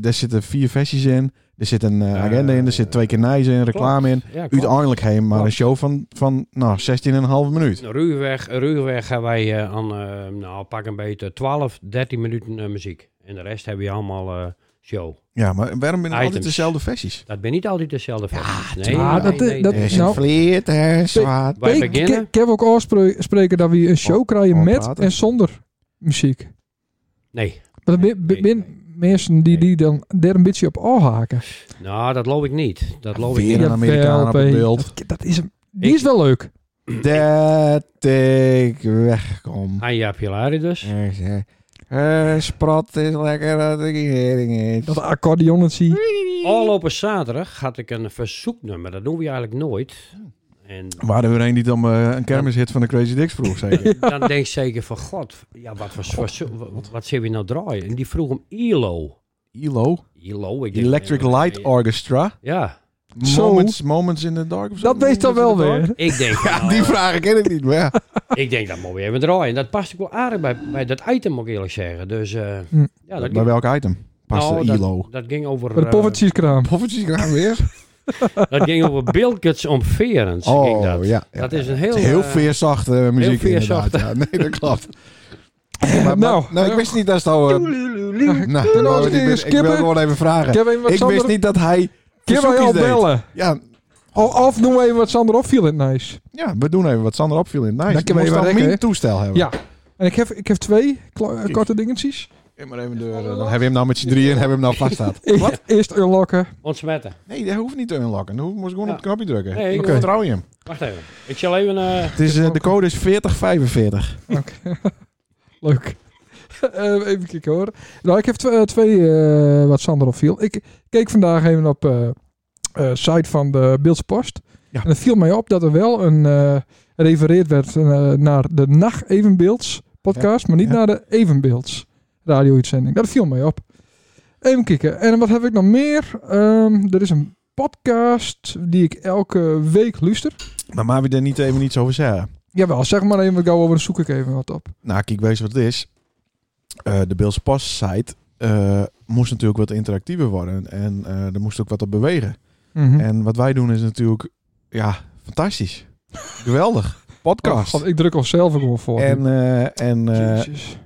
Speaker 3: er zitten vier versies in. Er zit een eh, agenda in. Er zit twee keer nijs in, reclame in.
Speaker 5: Ja, klopt.
Speaker 3: Uiteindelijk heen, maar een
Speaker 5: Klopt.
Speaker 3: show van, van nou, 16,5 minuut.
Speaker 5: Ruwweg, ruwweg hebben wij eh, aan, eh, nou, pak een beetje 12, 13 minuten eh, muziek. En de rest hebben we allemaal eh, show.
Speaker 3: Ja, maar waarom zijn het altijd
Speaker 5: Items.
Speaker 3: dezelfde versies?
Speaker 5: Dat ben niet altijd dezelfde versies. Nee,
Speaker 1: tuurlijk. Ah, dat- dat-
Speaker 3: Er eh, is
Speaker 1: nou,
Speaker 3: een vleerter, zwaard.
Speaker 5: Wij
Speaker 1: Ik-
Speaker 5: beginnen.
Speaker 1: Ik, ik heb ook afspreken dat we een show
Speaker 3: Oh,
Speaker 1: krijgen
Speaker 3: oh,
Speaker 1: met
Speaker 3: praten.
Speaker 1: en zonder muziek.
Speaker 5: Nee,
Speaker 1: Maar er
Speaker 5: Nee,
Speaker 1: zijn
Speaker 5: nee,
Speaker 1: mensen die, die dan daar een beetje op afhaken.
Speaker 5: nou, dat loop ik niet. Dat loop ik
Speaker 3: Weer
Speaker 5: niet.
Speaker 3: een
Speaker 1: Jawel,
Speaker 3: Amerikaan op
Speaker 1: P.
Speaker 3: het beeld.
Speaker 1: Dat, dat is, hem. die
Speaker 5: Ik-
Speaker 1: is wel leuk.
Speaker 3: Dat ik wegkom.
Speaker 5: Anja Pilari dus.
Speaker 3: Er zei, eh, Sprat is lekker dat ik hering eet.
Speaker 1: Dat accordeonnetje.
Speaker 5: Afgelopen zaterdag had ik een verzoeknummer. Dat doen we eigenlijk nooit. En
Speaker 3: Waren er een die dan eh, een kermishit van de Crazy Dicks vroeg, zei je?
Speaker 5: dan denk ik zeker van, god, ja, wat, voor, verzoek- wat, wat zullen we nou draaien? En die vroeg om ILO.
Speaker 3: ILO,
Speaker 5: ILO, ik denk... eh,
Speaker 3: Electric Light Orchestra.
Speaker 5: Ja,
Speaker 1: Zo.
Speaker 3: Moments, moments in the Dark of zo.
Speaker 1: Dat wees dan wel
Speaker 3: Moments in the
Speaker 1: weer.
Speaker 5: ik denk... van,
Speaker 3: Dark?
Speaker 5: nou,
Speaker 3: Ah, Die vragen ken ik niet, maar ja.
Speaker 5: Ik denk dat moet we even draaien. Dat past ook wel aardig bij, bij dat item, moet ik eerlijk zeggen. Dus eh,
Speaker 1: Hm.
Speaker 5: ja, dat
Speaker 3: Bij
Speaker 5: ging,
Speaker 3: welk item past
Speaker 1: Oh,
Speaker 5: nou,
Speaker 3: de
Speaker 5: dat-
Speaker 3: ILO?
Speaker 5: Dat, ging over,
Speaker 1: Bij de
Speaker 5: eh,
Speaker 1: poffertjeskraam.
Speaker 3: Poffertjes gaan weer.
Speaker 5: dat ging over Bilkets omverend. ging
Speaker 3: Oh,
Speaker 5: dat.
Speaker 3: ja. ja.
Speaker 5: dat is een heel...
Speaker 3: heel
Speaker 5: eh,
Speaker 3: veerzachte muziek
Speaker 5: veerzacht.
Speaker 3: inderdaad. Ja, nee, dat klopt. Maar- maar-
Speaker 1: Nou.
Speaker 3: nou, ik wist niet dat het al... eh, nou, dan
Speaker 1: kunnen we
Speaker 3: wou
Speaker 1: eens
Speaker 3: ik niet- ik wil
Speaker 1: skippen?
Speaker 3: gewoon even vragen.
Speaker 1: Ik heb even wat
Speaker 3: Ik
Speaker 1: Sander...
Speaker 3: wist niet dat hij
Speaker 1: Kun wij
Speaker 3: verzoekjes
Speaker 1: al
Speaker 3: deed.
Speaker 1: bellen?
Speaker 3: Ja,
Speaker 1: Of, of doen we even wat Sander opviel in het nice.
Speaker 3: ja, we doen even wat Sander opviel in. Nice.
Speaker 1: Dan kunnen we
Speaker 3: Moest
Speaker 1: even
Speaker 3: dan
Speaker 1: rekken,
Speaker 3: mijn
Speaker 1: hè?
Speaker 3: toestel hebben.
Speaker 1: Ja. En ik heb, ik heb twee kla- eh, korte dingetjes.
Speaker 3: Ik maar even door. eh, Dan hebben we hem nou met z'n drieën en hebben we hem nou vaststaat.
Speaker 1: E- Eerst unlocken.
Speaker 5: Ontsmetten.
Speaker 3: Nee, dat hoeft niet te unlocken. Dan moest ik gewoon
Speaker 5: Ja.
Speaker 3: op het knopje drukken.
Speaker 5: Nee,
Speaker 3: ik
Speaker 5: oké.
Speaker 3: vertrouw je hem.
Speaker 5: Wacht even. Ik zal even... eh,
Speaker 3: Het is, eh, de code is 4045.
Speaker 1: Leuk. Eh, even kijken hoor. Nou, ik heb tw- eh, twee eh, wat Sander opviel. Ik keek vandaag even op de site van de Beeldse Post.
Speaker 3: Ja.
Speaker 1: En het viel mij op dat er wel een eh refereerd werd eh, naar de Nacht Evenbeelds podcast, maar niet
Speaker 3: Ja.
Speaker 1: naar de Evenbeelds radio-uitzending. Dat viel mij op. Even kijken. En wat heb ik nog meer? Ehm, er is een podcast die ik elke week luister.
Speaker 3: Maar maar we er niet even iets over zeggen.
Speaker 1: Jawel, zeg maar even gauw over, dan zoek ik even wat op.
Speaker 3: Nou, kijk, wees wat het is. Eh, de Bills Pass site eh, moest natuurlijk wat interactiever worden. En eh, er moest ook wat op bewegen.
Speaker 1: Mhm.
Speaker 3: En wat wij doen is natuurlijk, ja, fantastisch. Geweldig.
Speaker 1: Oh,
Speaker 3: Podcast.
Speaker 1: God, ik druk onszelf ook gewoon voor.
Speaker 3: en eh, en eh,
Speaker 1: Jezus.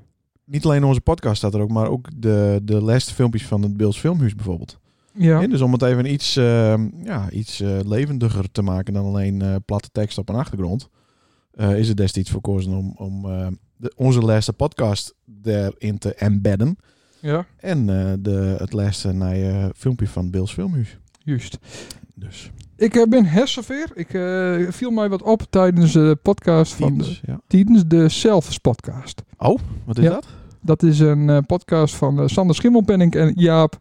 Speaker 3: niet alleen onze podcast staat er ook, maar ook de, de laatste filmpjes van het Beels Filmhuis bijvoorbeeld.
Speaker 1: Ja.
Speaker 3: Hè, Dus om het even iets, eh, ja, iets eh, levendiger te maken dan alleen eh, platte tekst op een achtergrond, eh, is er destijds voor gekozen om, om eh, de, onze laatste podcast daarin te embedden.
Speaker 1: ja,
Speaker 3: En eh, de, het laatste naar je filmpje van Beels Filmhuis.
Speaker 1: juist.
Speaker 3: Dus
Speaker 1: Ik eh, ben hersenveer. Ik eh, viel mij wat op tijdens de podcast van de,
Speaker 3: Teams, ja. Oh,
Speaker 1: tijdens de Selfs podcast.
Speaker 3: Wat is
Speaker 1: Ja.
Speaker 3: dat?
Speaker 1: Dat is een eh, podcast van eh, Sander Schimmelpenning en Jaap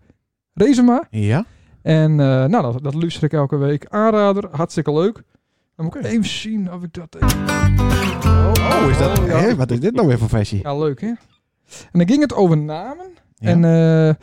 Speaker 1: Rezema.
Speaker 3: Ja.
Speaker 1: En eh, nou, dat, dat luister ik elke week. Aanrader, hartstikke leuk. Dan moet ik
Speaker 3: Oké.
Speaker 1: even zien of ik dat...
Speaker 3: Oh, is dat,
Speaker 1: ja.
Speaker 3: hé, wat is dit nou weer voor versie?
Speaker 1: Ja, leuk hè? En dan ging het over namen.
Speaker 3: Ja.
Speaker 1: En eh ja,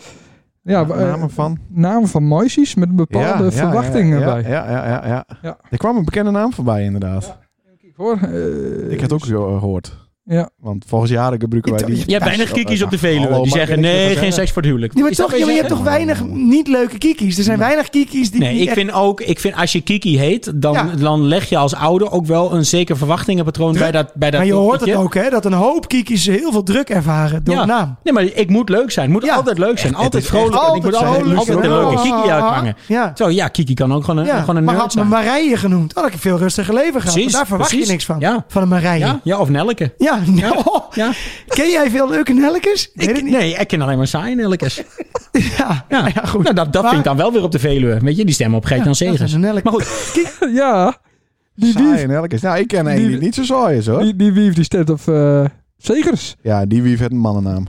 Speaker 3: Ja,
Speaker 1: eh,
Speaker 3: namen van?
Speaker 1: namen van muisjes met een bepaalde verwachtingen
Speaker 3: ja,
Speaker 1: bij.
Speaker 3: Ja, ja, ja, ja.
Speaker 1: Ja.
Speaker 3: Er kwam een bekende naam voorbij, inderdaad.
Speaker 1: Kijk hoor. eh,
Speaker 3: Ik had ook zo gehoord.
Speaker 1: Ja.
Speaker 3: Want volgens jaren gebruiken wij die...
Speaker 6: Dus- Je hebt weinig kikkies op de Veluwe
Speaker 3: Hallo,
Speaker 6: die
Speaker 3: mag
Speaker 6: zeggen
Speaker 3: ik niks meer
Speaker 6: nee, geen
Speaker 3: zeggen?
Speaker 6: seks voor het huwelijk.
Speaker 7: Ja, maar,
Speaker 6: Is dat
Speaker 7: toch, ja, maar je hebt
Speaker 6: bezig?
Speaker 7: toch weinig niet leuke kikkies? Er zijn weinig kikkies die
Speaker 6: Nee,
Speaker 7: die
Speaker 6: ik
Speaker 7: echt-
Speaker 6: vind ook, ik vind als je Kiki heet, dan,
Speaker 7: Ja.
Speaker 6: dan leg je als ouder ook wel een zeker verwachtingenpatroon bij dat bij dat
Speaker 7: Maar je hoort het
Speaker 6: kikkertje.
Speaker 7: ook, hè? Dat een hoop kikkies heel veel druk ervaren door
Speaker 6: Ja.
Speaker 7: de naam.
Speaker 6: Nee, maar ik moet leuk zijn. Ik moet
Speaker 7: Ja.
Speaker 6: altijd leuk zijn. altijd
Speaker 3: is
Speaker 6: vrolijk.
Speaker 3: echt
Speaker 6: en ik moet
Speaker 7: altijd
Speaker 6: altijd,
Speaker 7: vrolijk
Speaker 6: altijd een
Speaker 7: en
Speaker 6: leuke
Speaker 7: leuk.
Speaker 6: Kiki uithangen.
Speaker 7: Ja.
Speaker 6: Zo, ja, Kiki kan ook gewoon een,
Speaker 7: ja.
Speaker 6: gewoon een
Speaker 7: maar
Speaker 6: nerd
Speaker 7: had me
Speaker 6: zijn.
Speaker 7: Marije genoemd, had ik een veel rustiger leven gehad.
Speaker 6: Precies,
Speaker 7: Want daar verwacht
Speaker 6: precies.
Speaker 7: je niks van.
Speaker 6: Ja.
Speaker 7: Van een Marije.
Speaker 6: Ja,
Speaker 7: Ja,
Speaker 6: ja, of Nelleke.
Speaker 7: nou,
Speaker 6: Ja.
Speaker 7: Ken jij veel leuke Nelkes? Ik weet
Speaker 6: Ik,
Speaker 7: het niet.
Speaker 6: nee, ik ken alleen maar saaie Nellekes.
Speaker 7: Ja.
Speaker 6: Ja.
Speaker 7: Nou ja, goed.
Speaker 6: Nou, dat, dat
Speaker 7: Maar-
Speaker 6: vind ik dan wel weer op de Veluwe. Weet je, die stemmen op Gert-Jan
Speaker 7: Ja, dat
Speaker 6: Segers.
Speaker 7: is een Nelke.
Speaker 6: Maar goed,
Speaker 1: Ja, die
Speaker 3: Saai
Speaker 1: wief,
Speaker 3: en elke. Nou, ik ken een
Speaker 1: Die-
Speaker 3: die, niet zo saai is, hoor.
Speaker 1: die, die wief die stemt op eh, Zegers.
Speaker 3: ja, die wief heeft een mannennaam.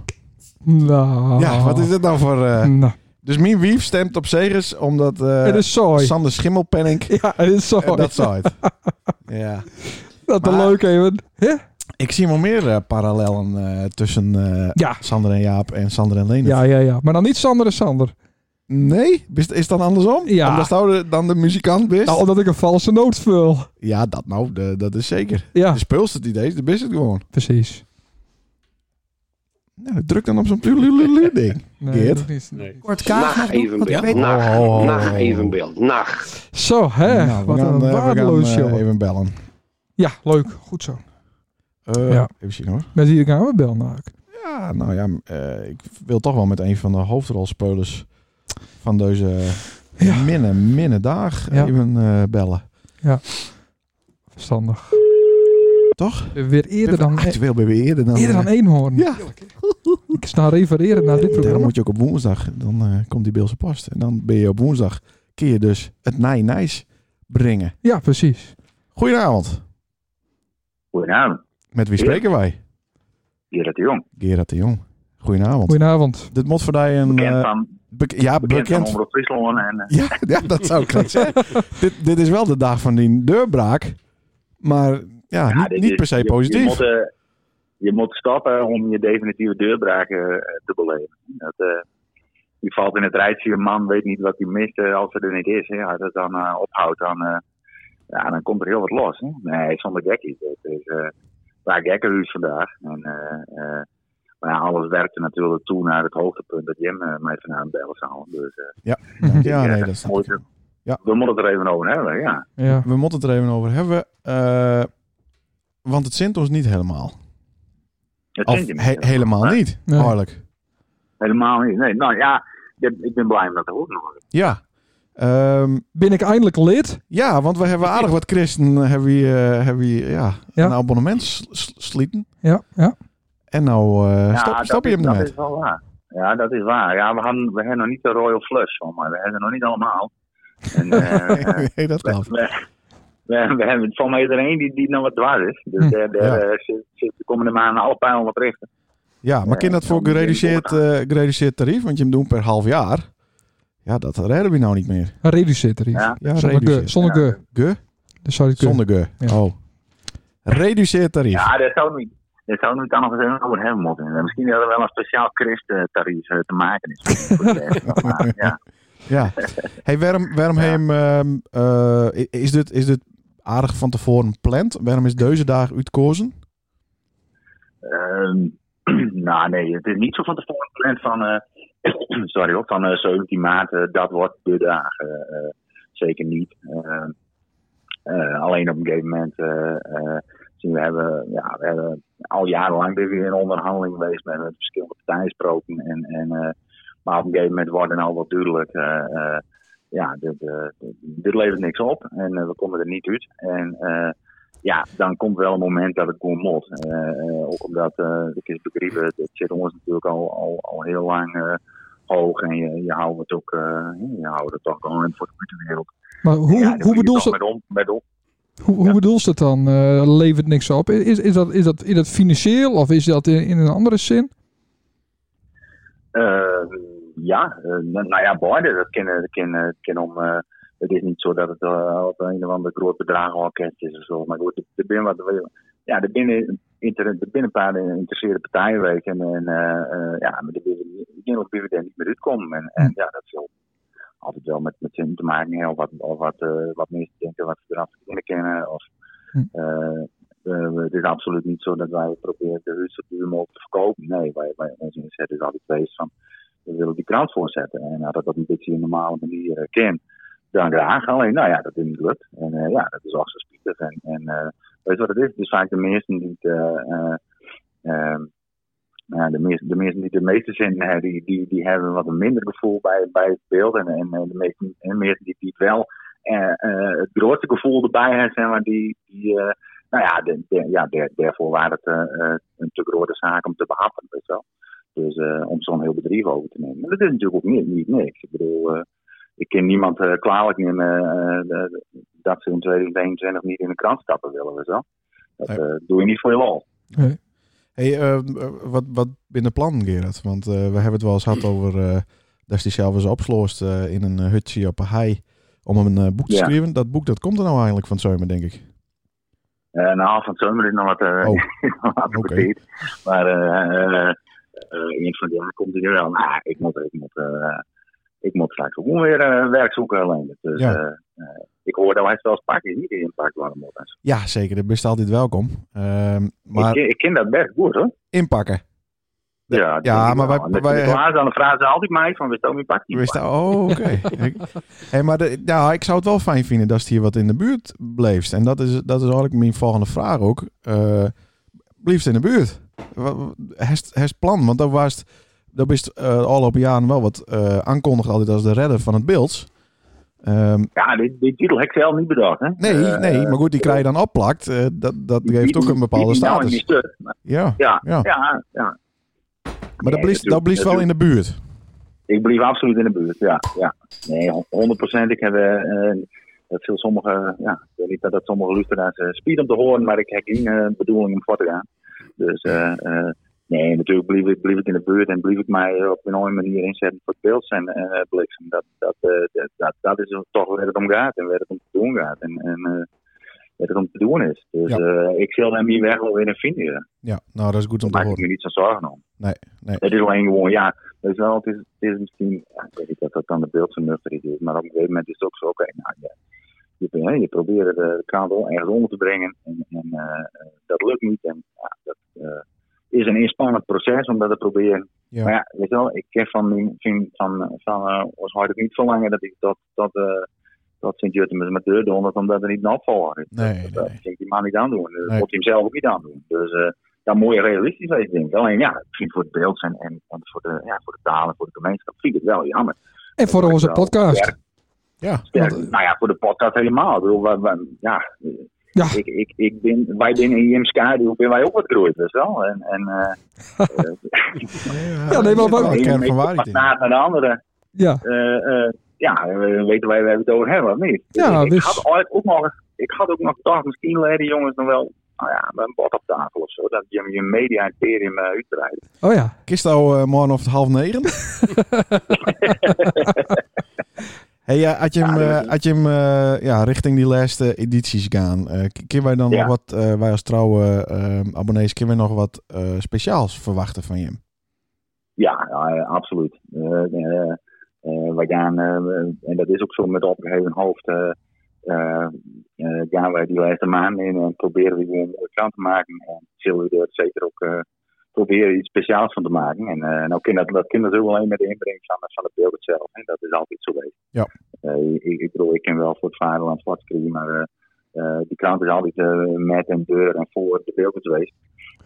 Speaker 1: Nou.
Speaker 3: Ja, wat is dit nou voor... eh,
Speaker 1: Nou,
Speaker 3: Dus mijn wief stemt op Segers omdat eh,
Speaker 1: het is saai.
Speaker 3: Sander Schimmelpenning...
Speaker 1: Ja, het is saai.
Speaker 3: en dat
Speaker 1: dat
Speaker 3: saai. ja.
Speaker 1: dat
Speaker 3: maar-
Speaker 1: leuk even. Hè?
Speaker 3: Ik zie wel meer eh, parallellen eh, tussen eh,
Speaker 1: Ja.
Speaker 3: Sander en Jaap en Sander en Lena.
Speaker 1: Ja, ja, ja. Maar dan niet Sander en Sander.
Speaker 3: Nee? Is, is dan andersom?
Speaker 1: Ja.
Speaker 3: Omdat jou de- dan de muzikant bent?
Speaker 1: Nou, omdat ik een valse noot vul.
Speaker 3: Ja, dat nou, de- dat is zeker.
Speaker 1: Ja,
Speaker 3: De speelst het idee, de best het gewoon.
Speaker 1: precies.
Speaker 3: Nou, druk dan op zo'n plulululu ding.
Speaker 1: Nee,
Speaker 3: Geert?
Speaker 1: dat niet.
Speaker 5: Nee.
Speaker 7: Kort kaart.
Speaker 4: Nacht
Speaker 7: ja?
Speaker 4: evenbeeld. Nacht.
Speaker 3: Oh, oh, oh.
Speaker 4: Nacht evenbeeld. Nacht.
Speaker 1: Zo, hè.
Speaker 3: Nou,
Speaker 1: Wat
Speaker 3: eh,
Speaker 1: een
Speaker 3: we gaan,
Speaker 1: waardeloos
Speaker 3: eh,
Speaker 1: show.
Speaker 3: even bellen.
Speaker 1: Ja, leuk. Goed zo.
Speaker 3: Eh,
Speaker 1: Ja.
Speaker 3: Even zien hoor.
Speaker 1: Met hier gaan we bellen eigenlijk.
Speaker 3: Ja, nou ja, eh, ik wil toch wel met een van de hoofdrolspelers van deze
Speaker 1: Ja.
Speaker 3: minne, minne dag
Speaker 1: Ja.
Speaker 3: even eh, bellen.
Speaker 1: Verstandig.
Speaker 3: Toch?
Speaker 1: Weer eerder
Speaker 3: Even
Speaker 1: dan, e-
Speaker 3: actueel ben je eerder dan.
Speaker 1: eerder dan
Speaker 3: eh,
Speaker 1: eenhoorn.
Speaker 3: Ja,
Speaker 1: Ik sta refereren naar dit
Speaker 3: daarom
Speaker 1: programma.
Speaker 3: moet je ook op woensdag, dan eh, komt die Beelse post. En dan ben je op woensdag, kun je dus het nij-nijs brengen.
Speaker 1: Ja, precies.
Speaker 3: Goedenavond,
Speaker 8: Goedenavond,
Speaker 3: met wie
Speaker 8: Ja.
Speaker 3: spreken wij?
Speaker 8: Gerard de Jong.
Speaker 3: Gerard de Jong. Goedenavond.
Speaker 1: Goedenavond.
Speaker 3: Dit moet voor jou een...
Speaker 8: Bekend
Speaker 3: eh,
Speaker 8: van,
Speaker 3: bek- ja,
Speaker 8: bekend van
Speaker 3: bekend.
Speaker 8: Omroep Friesland en eh,
Speaker 3: Ja, ja, dat zou ik net zeggen. dit, dit is wel de dag van die deurbraak. Maar ja,
Speaker 8: ja,
Speaker 3: niet,
Speaker 8: dit
Speaker 3: niet
Speaker 8: is-
Speaker 3: per se
Speaker 8: je-
Speaker 3: positief.
Speaker 8: Je moet, eh, je moet stappen om je definitieve deurbraak eh, te beleven. Dat, eh, je valt in het rijtje, een man weet niet wat hij mist eh, als er er niet is. Hè. Als het dan eh, ophoudt, dan, eh, ja, dan komt er heel wat los. Hè. Nee, zonder gekkies. Het is eh waar gekkenhuis vandaag. En, eh, eh, maar ja, alles werkte natuurlijk toe naar het hoogtepunt dat Jim eh, mij vanavond bellen zou. Dus, eh,
Speaker 3: ja, nee, dat snap ik.
Speaker 8: mooi.
Speaker 3: Ja.
Speaker 8: We moeten het er even over hebben, ja.
Speaker 1: Ja.
Speaker 3: We moeten het er even over hebben. eh, want het zint ons niet helemaal.
Speaker 8: Dat
Speaker 3: Of
Speaker 8: vind je niet.
Speaker 3: he- helemaal niet,
Speaker 1: Nee.
Speaker 3: eigenlijk.
Speaker 8: Helemaal niet. Nee, nou ja, ik ik ben blij met de hoek nog.
Speaker 3: Ja. Ehm,
Speaker 1: Ben ik eindelijk lid?
Speaker 3: ja, want we hebben aardig wat christenen hebben we, eh, hebben we, ja,
Speaker 1: Ja.
Speaker 3: een abonnement s- s- sliten.
Speaker 1: Ja, ja.
Speaker 3: En nou eh, stop,
Speaker 8: dat
Speaker 3: stop je
Speaker 8: is-
Speaker 3: hem
Speaker 8: Dat
Speaker 3: net.
Speaker 8: is wel waar. Ja, dat is waar. Ja, we hebben, we hebben nog niet de Royal Flush, hoor, maar we hebben het nog niet allemaal. En, eh, eh,
Speaker 3: nee, dat
Speaker 8: we,
Speaker 3: klopt.
Speaker 8: we, we, we hebben van mij er één die, die nog wat dwaar is. Dus
Speaker 1: Hm,
Speaker 8: daar, daar eh, zit, zit de komende maanden alle pijlen op richten.
Speaker 3: Ja, maar
Speaker 8: Eh,
Speaker 3: kan dat voor gereduceerd, eh, gereduceerd tarief? Want je hem doet per half jaar. Ja, dat redden we nou niet meer.
Speaker 1: Reduceert er iets.
Speaker 8: Ja.
Speaker 3: Ja,
Speaker 1: Zonder ge.
Speaker 3: reduceerd.
Speaker 1: Zonder ge.
Speaker 3: Ge?
Speaker 1: Dus zou ik kunnen.
Speaker 3: Zonder ge.
Speaker 1: Ja.
Speaker 3: Oh. Reduceerd tarief.
Speaker 8: Ja, daar zou niet. Daar zou nu dan nog eens even over hebben moeten. En Misschien dat er wel een speciaal christentarief eh, te maken is. Voor de rest. Maar, ja.
Speaker 3: Ja. Hey, waarom, waarom
Speaker 8: Ja.
Speaker 3: heem, ehm, eh, is, dit, is dit aardig van tevoren gepland? Waarom is deze dag uitkozen?
Speaker 8: Ehm, nou, nee, het is niet zo van tevoren gepland van, eh, sorry hoor, van eh 17 maart, eh, dat wordt de dag. Eh, eh, zeker niet. Eh, eh, alleen op een gegeven moment eh, eh, zien we hebben, ja, we hebben al jarenlang ben weer in onderhandeling geweest met, met verschillende partijen gesproken. En, en, eh, maar op een gegeven moment wordt dan al wat duidelijk, eh, eh, ja, dit, eh, dit, dit levert niks op en eh, we komen er niet uit. En eh, ja, dan komt wel een moment dat het gewoon moet. Eh, eh, ook omdat eh ik is begrepen, het zit ons natuurlijk al, al, al heel lang eh, hoog en je, je houdt het ook, eh, je houdt het ook gewoon voor de buitenwereld.
Speaker 1: Maar hoe,
Speaker 8: Ja, dan moet
Speaker 1: hoe,
Speaker 8: je
Speaker 1: bedoel
Speaker 8: toch
Speaker 1: ze,
Speaker 8: Met om, met om.
Speaker 1: hoe, hoe
Speaker 8: ja.
Speaker 1: bedoel ze dat dan? Eh, levert niks op? Is, is, dat, is, dat, is dat financieel of is dat in, in een andere zin?
Speaker 8: Eh, ja, eh, nou nou ja, beide. Dat kennen, dat kennen, dat kennen om. eh, het is niet zo dat het eh, op een of ander groot bedrag orkest is of zo. Maar goed, er zijn wat. Ja, er binnen. Er binnen een paar geïnteresseerde partijen geweest en, en eh, eh, ja, maar de binnen ben er niet meer uitkomen. En, en ja, dat zal altijd wel met, met zin te maken hebben, of wat, of wat, eh, wat mensen denken wat ze eraf kunnen kennen. Of,
Speaker 1: Hm.
Speaker 8: eh, eh, het is absoluut niet zo dat wij proberen de huis zo duur mogelijk te verkopen. Nee, wij, wij, ons inzet is altijd geweest van we willen die krant voorzetten. En als dat op een beetje een normale manier eh, kan, dan graag. Alleen, nou ja, dat is niet gelukt. En eh, ja, dat is ook zo spietig. En, en eh, weet je wat het is? Het is vaak de meesten die het, eh, eh, ehm, nou, de, meesten, de meesten die de meeste zin hebben, die, die, die hebben wat een minder gevoel bij, bij het beeld. En, en eh, de meesten, en de meesten die, die het wel eh, eh, het grootste gevoel erbij hebben, zeg maar, die... die eh, nou ja, de, de- ja der- daarvoor waren het eh, eh, een te grote zaak om te behappen, weet je wel. Dus eh, om zo'n heel bedrijf over te nemen. Maar dat is natuurlijk ook niet, niet niks. Ik bedoel, eh, ik ken niemand eh, kwalijk nemen eh, eh, dat ze in 2021 niet in de krant stappen willen, weet je wel. Dat
Speaker 3: Nee.
Speaker 8: eh, doe je niet voor je lol.
Speaker 3: Hey, eh, wat, wat binnen plan, Gerard? Want eh, we hebben het wel eens gehad over eh dat die zelf eens opsloost eh, in een hutje op een hei om een eh, boek te
Speaker 8: Ja.
Speaker 3: schrijven. Dat boek dat komt er nou eigenlijk van zomer, denk ik.
Speaker 8: Eh, nou, van zomer is nog wat, eh
Speaker 3: Oh.
Speaker 8: nog wat
Speaker 3: Oké.
Speaker 8: gebeurd. Maar eh, eh, eh, eind van het jaar komt hij er wel. Maar ik moet, ik moet, eh, ik moet straks ook gewoon weer eh, werk zoeken alleen. Dus,
Speaker 3: Ja.
Speaker 8: eh, eh, ik hoor dat hij het wel eens een paar keer niet in het park warm op. is.
Speaker 3: Ja, zeker. Dat best altijd welkom. Ehm, maar
Speaker 8: Ik, ik ken dat best goed hoor.
Speaker 3: inpakken.
Speaker 8: Ja, dat
Speaker 3: ja,
Speaker 8: denk ik
Speaker 3: maar
Speaker 8: wel.
Speaker 3: wij-
Speaker 8: En dat
Speaker 3: wij-
Speaker 8: de Klaas dan vragen ze altijd mij van, wist ook mijn pakje?
Speaker 3: Wist dat- oh, oké. Ik- Hé, maar de- ja, ik zou het wel fijn vinden als het hier wat in de buurt bleef. En dat is, dat is eigenlijk mijn volgende vraag ook. Eh blijft in de buurt. Wa- wa- Hest hest plan, want dat was dat best eh al op jaren wel wat eh aankondigd altijd als de redder van het beeld. Ehm,
Speaker 8: Ja, dit, dit titel heb ik zelf niet bedacht. Hè?
Speaker 3: nee,
Speaker 8: Eh,
Speaker 3: nee, maar goed, die krijg je dan opplakt. eh, dat, dat
Speaker 8: die-
Speaker 3: geeft
Speaker 8: die-
Speaker 3: ook een bepaalde
Speaker 8: die- die nou in
Speaker 3: status.
Speaker 8: die stuk. Maar
Speaker 3: Ja,
Speaker 8: Ja,
Speaker 3: Ja.
Speaker 8: ja, ja. ja.
Speaker 3: maar dat
Speaker 8: Nee,
Speaker 3: blijft dat
Speaker 8: natuurlijk,
Speaker 3: blijft wel in de buurt.
Speaker 8: Ik blijf absoluut in de buurt, ja. ja. Nee, hon- 100%. Ik heb eh, eh, dat veel sommige, ja, ik weet niet dat, dat sommige luisteraars eh speed om te horen, maar ik heb geen eh, bedoeling om voor te gaan. Dus eh, eh, nee, natuurlijk blijf ik, blijf ik in de buurt en blijf ik mij eh, op een mooie manier inzetten voor het beeld en eh bliksem. Dat, dat, eh, dat, dat, dat is toch waar het om gaat en waar het om te doen gaat en, en eh, waar het om te doen is. Dus
Speaker 3: Ja.
Speaker 8: eh, ik zal hem hier weg wel weer in vinden. ja.
Speaker 3: Ja, nou, dat is goed om
Speaker 8: Daar
Speaker 3: te
Speaker 8: maak ik
Speaker 3: horen.
Speaker 8: me niet zo zorgen om.
Speaker 3: Nee.
Speaker 8: Het is alleen gewoon, ja, weet je wel, het is, het is misschien, ja, ik weet niet of dat dan de beeldvernuchter is, maar op een gegeven moment is het ook zo, oké, nou ja, je, hè, je probeert de kraan wel ergens onder te brengen en, en eh, eh, dat lukt niet. En ja, dat eh, is een inspannend proces om dat te proberen.
Speaker 3: Ja.
Speaker 8: Maar ja, weet je wel, ik ken van, mijn- van, van, van eh, ons hard niet verlangen dat ik dat, dat, eh dat Sint-Jutemus met deur doe, omdat er niet een opvolger is.
Speaker 3: Nee,
Speaker 8: dat,
Speaker 3: nee,
Speaker 8: dat
Speaker 3: nee.
Speaker 8: vind ik die man niet aandoen. Dat
Speaker 3: Nee.
Speaker 8: moet hij hem zelf ook niet aandoen. Dus eh, dat moet je realistisch zijn, denk ik. Alleen ja, misschien voor het beeld en, en, en voor, de, ja, voor de talen, voor de gemeenschap, vind ik het wel jammer.
Speaker 1: En voor
Speaker 8: Dat is
Speaker 1: onze
Speaker 8: wel
Speaker 1: podcast.
Speaker 8: sterk.
Speaker 3: Ja,
Speaker 8: Sterk. nou ja, voor de podcast helemaal. Ik bedoel, wij, wij- ja,
Speaker 1: Ja.
Speaker 8: Ik, ik, ik ben, wij zijn in IMSK, daar ben wij ook wat groeit, dus wel. En, en, eh,
Speaker 1: Ja, nee, maar-
Speaker 3: wel
Speaker 1: maar-
Speaker 3: een
Speaker 8: de
Speaker 3: kern
Speaker 8: ene
Speaker 3: van
Speaker 8: meet
Speaker 3: waarheid
Speaker 8: wat
Speaker 3: in.
Speaker 8: na naar de andere.
Speaker 1: Ja,
Speaker 8: Eh, eh, ja, we weten wij waar we het over hebben, of niet? Dus
Speaker 1: Ja,
Speaker 8: ik, ik
Speaker 1: dus-
Speaker 8: had ooit ook nog, ik had ook nog gedacht, misschien leiden jongens nog wel, nou ja, met een bord op tafel of zo, dat je je media-imperium eh, uitbreidt.
Speaker 1: oh ja.
Speaker 3: Kist nou eh, morgen of het half negen? hey, eh, had je hem,
Speaker 8: Ja, dat
Speaker 3: eh,
Speaker 8: is-
Speaker 3: had je hem eh, ja, richting die laatste edities gaan, eh, k- kunnen wij dan
Speaker 8: Ja.
Speaker 3: nog wat, eh, wij als trouwe eh, abonnees, kunnen wij nog wat eh, speciaals verwachten van je?
Speaker 8: Ja, ja, eh, absoluut. Eh, eh, eh, wij gaan, eh, en dat is ook zo met opgeheven hoofd, eh, eh, eh, gaan wij die laatste maanden in en proberen we gewoon een mooie krant te maken. En zullen we er zeker ook eh, proberen iets speciaals van te maken. En eh, nou, kan dat, dat kan natuurlijk alleen met de inbreng van, van het beeld zelf. En dat is altijd zo geweest.
Speaker 3: Ja.
Speaker 8: Eh, ik, ik bedoel, ik ken wel voor het vaderland wat schrijven, maar eh, eh, die krant is altijd eh, met en deur en voor de beelden geweest.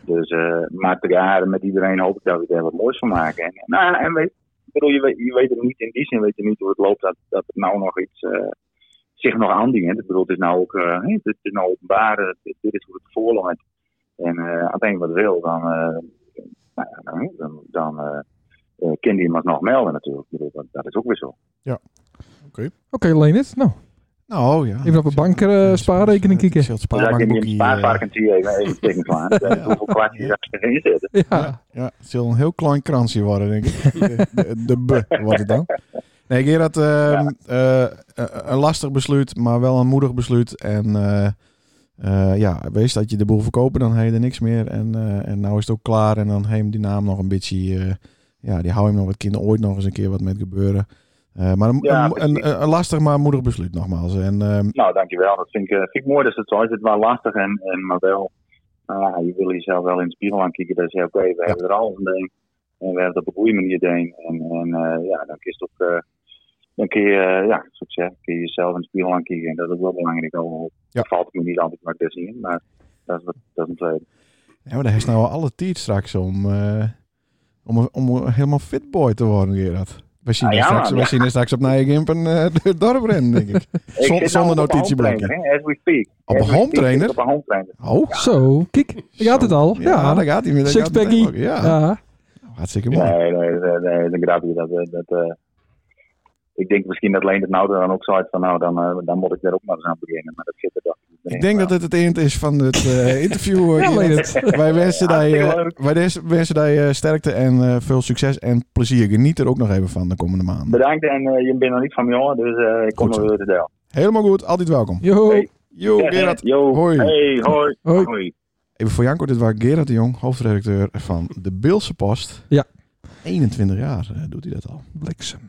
Speaker 8: Dus, eh, maar te jaren met iedereen hoop ik dat we daar wat moois van maken. En, nou, en weet, ik bedoel, je, weet, je weet het niet, in die zin weet je niet hoe het loopt, dat, dat het nou nog iets eh, zich nog aandient. Ik bedoel, het is nou ook, eh, hè, dit is nou openbaar, eh, dit, dit is hoe het voorloopt. En eh als één wat wil, dan, eh, nou ja, dan, dan, dan eh, eh, kan die iemand nog melden natuurlijk. Ik bedoel, dat, dat is ook weer zo.
Speaker 1: Oké, Leonard. Nou,
Speaker 3: Nou ja.
Speaker 1: even op een bank eh, spaarrekening
Speaker 3: Ik
Speaker 1: kijken.
Speaker 3: zal het
Speaker 8: Dus als je in
Speaker 3: spaarbankboekie,
Speaker 8: een
Speaker 3: eh,
Speaker 8: spaarvarkentje even even tegen slaan, dan hoeveel kwartjes
Speaker 3: Ja.
Speaker 8: daar erin zitten.
Speaker 1: Ja.
Speaker 3: Ja, het zal een heel klein kransje worden, denk ik. De, de, de B wordt het dan. Nee, Gerard, eh, eh, een lastig besluit, maar wel een moedig besluit. En eh, eh, ja, wees dat je de boel verkopen, dan heb je er niks meer. En, eh, en nou is het ook klaar en dan heem die naam nog een beetje... eh, ja, die hou hem nog wat kinderen ooit nog eens een keer wat met gebeuren. Eh, maar een,
Speaker 8: Ja,
Speaker 3: een, een, een lastig, maar moedig besluit nogmaals. En ehm,
Speaker 8: Nou, dankjewel. Dat vind ik, eh, vind ik mooi dat ze het zo is. Het was lastig, en, en, maar wel, nou ja, je wil jezelf wel in de spiegel aankijken. Dat je zegt, oké, we hebben er alles aan deen. En we hebben het op een goede manier deen. En, en eh, ja, dan kun je toch, eh, dan kun je, eh, ja, succes, kun je jezelf in de spiegel aankijken. En dat is ook wel belangrijk. Al
Speaker 3: Ja.
Speaker 8: valt het me niet altijd maar te zien, maar dat is, wat- eh, dat is een tweede.
Speaker 3: ja, maar daar is nou alle tijd straks om, eh, om, een- om een helemaal fitboy te worden, Gerard. We zien,
Speaker 8: Ah,
Speaker 3: er
Speaker 8: ja,
Speaker 3: straks,
Speaker 8: man,
Speaker 3: we
Speaker 8: ja.
Speaker 3: zien er straks op Nijegimp een eh, door het dorp rennen, denk ik.
Speaker 8: Ik
Speaker 3: Zon- zonder
Speaker 8: zit namelijk op een
Speaker 3: notitieblokje.
Speaker 8: home trainer, hè, As we speak.
Speaker 3: Op
Speaker 8: As
Speaker 3: een
Speaker 8: we
Speaker 3: home
Speaker 8: speak zit ik
Speaker 3: trainer?
Speaker 8: Op een home trainer.
Speaker 3: Oh,
Speaker 1: Zo, kijk. Je had het al.
Speaker 3: ja, daar
Speaker 1: Ja.
Speaker 3: gaat hij. weer. Daar gaat hij.
Speaker 1: Sixpackie.
Speaker 3: Ja,
Speaker 1: Ja.
Speaker 3: hartstikke mooi.
Speaker 8: Nee, nee, nee, nee, een grapje. Dat, eh, dat, eh, ik denk misschien dat Leendert nou er dan ook zo uit van, nou, dan, eh, dan moet ik daar ook maar eens aan beginnen. Maar dat zit er toch niet in.
Speaker 3: Ik denk dat dit het eind is van het eh, interview. eh,
Speaker 1: Ja,
Speaker 3: Gerard.
Speaker 1: Leendert.
Speaker 3: wij wensen dat je,
Speaker 8: Hartstikke leuk.
Speaker 3: wij des- wensen dat je sterkte en eh, veel succes en plezier. Geniet er ook nog even van de komende maanden.
Speaker 8: Bedankt en eh, je bent nog niet van mij hoor, dus eh, ik kom
Speaker 3: Goed
Speaker 8: nog
Speaker 3: zo.
Speaker 8: weer te deel.
Speaker 3: Helemaal goed, altijd welkom.
Speaker 1: Jo.
Speaker 8: Hey.
Speaker 3: Yo, Gerard.
Speaker 8: Yo,
Speaker 3: Hoi.
Speaker 8: Hey, hoi.
Speaker 1: Hoi.
Speaker 3: Even voor Janko, dit was Gerard de Jong, hoofdredacteur van de Beelse Post.
Speaker 1: Ja.
Speaker 3: 21 jaar eh, doet hij dat al.
Speaker 1: Bliksem.